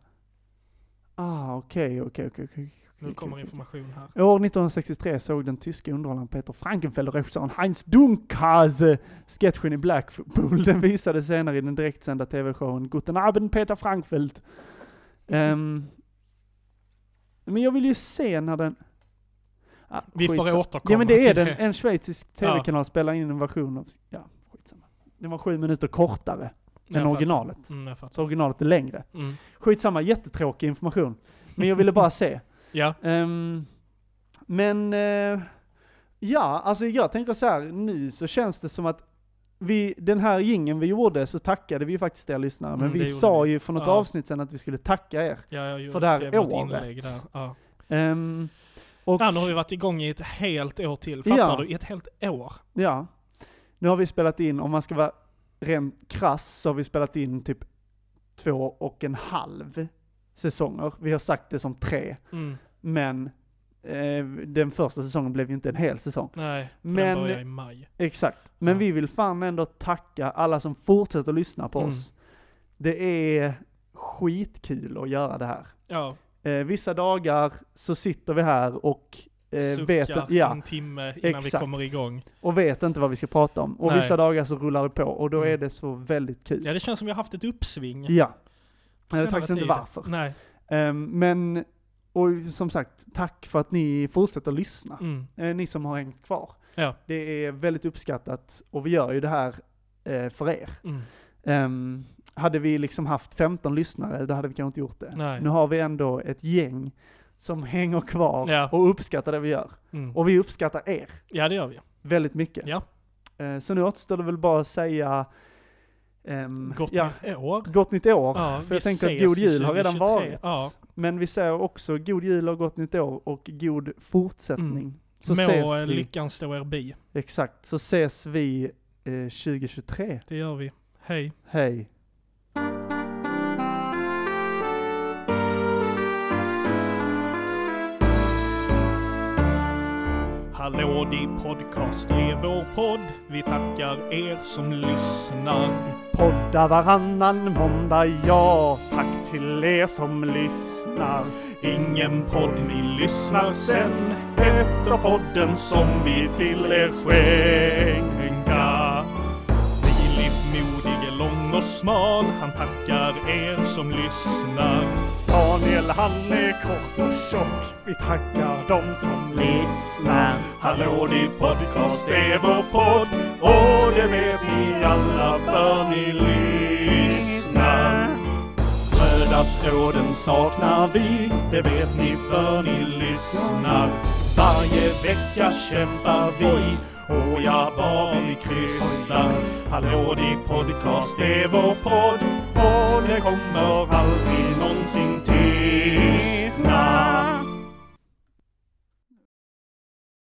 Ah, okej, okej, okej, okej. nu kommer information här. År 1963 såg den tyske underhållaren Peter Frankenfeldt och regissören Heinz Dunkhase sketchen i Blackpool. Den visades senare i den direktsända tv-showen Guten Abend Peter Frankfeldt. Ehm, men jag vill ju se när den... Ja, Vi får skitsamma. återkomma Ja men det är till den, det. en schweizisk Ja. tv-kanal spelar in en version av, ja skitsamma. Den var sju minuter kortare Jag än fattar. originalet. Mm, jag fattar. Så originalet är längre. Mm. Skitsamma, jättetråkig information. Men jag ville bara se. Ja. Ehm, men eh, ja, alltså jag tänker så här, nu så känns det som att vi, den här gingen vi gjorde så tackade vi faktiskt er lyssnare, men Mm, det vi gjorde sa vi. ju för något Ja. avsnitt sedan att vi skulle tacka er. Ja, jag gjorde, För det här skrev något året. inlägg där. Ja. Ehm, och, ja, nu har vi varit igång i ett helt år till. Fattar Ja. du? I ett helt år. ja, nu har vi spelat in, om man ska vara rent krass, så har vi spelat in typ två och en halv säsonger. Vi har sagt det som tre, Mm. men eh, den första säsongen blev ju inte en hel säsong. Nej, för Men- den börjar i maj. Exakt. Men Ja. vi vill fan ändå tacka alla som fortsätter lyssna på Mm. oss. Det är skitkul att göra det här. Ja, Eh, vissa dagar så sitter vi här och, eh, vet, suckar ja, en timme innan vi Exakt. kommer igång. och vet inte vad vi ska prata om. Och Nej. vissa dagar så rullar det på och då Mm. är det så väldigt kul. Ja, det känns som vi har haft ett uppsving. Ja. Jag Senare vet faktiskt inte tid. varför. Nej. Eh, men, och som sagt, tack för att ni fortsätter lyssna. Mm. eh, ni som har hängt kvar. Ja. Det är väldigt uppskattat och vi gör ju det här eh, för er. Mm. Ehm, hade vi liksom haft 15 lyssnare, då hade vi kanske inte gjort det. Nej. Nu har vi ändå ett gäng som hänger kvar Ja. och uppskattar det vi gör. Mm. Och vi uppskattar er Ja, det gör vi. väldigt mycket. Ja. Eh, så nu återstår det väl bara att säga ehm, Gott ja, nytt år. gott nytt år. Ja, För vi jag tänker att ses god i jul har redan 2023. varit. Ja. Men vi säger också god jul och gott nytt år och god fortsättning. Så Må eh, ses vi. lyckan stå er bi. Exakt, så ses vi eh, 2023. Det gör vi. Hej. Hej! Hallå di podcast är vår podd. Vi tackar er som lyssnar. Poddar varannan måndag, ja. Tack till er som lyssnar. Ingen podd ni lyssnar sen efter podden som vi till er skänka. Filip modig är lång och smal. Han tackar er som lyssnar. Daniel, han är kort och tjock. Vi tackar dem som lyssnar. Hallå di podcast är vår podd. Och det vet ni alla för ni lyssnar. Röda tråden saknar vi, det vet ni för ni lyssnar. Varje vecka kämpar vi, och ja, var vi krystar. Hallå, din podcast är vår podd, och det kommer aldrig någonsin till.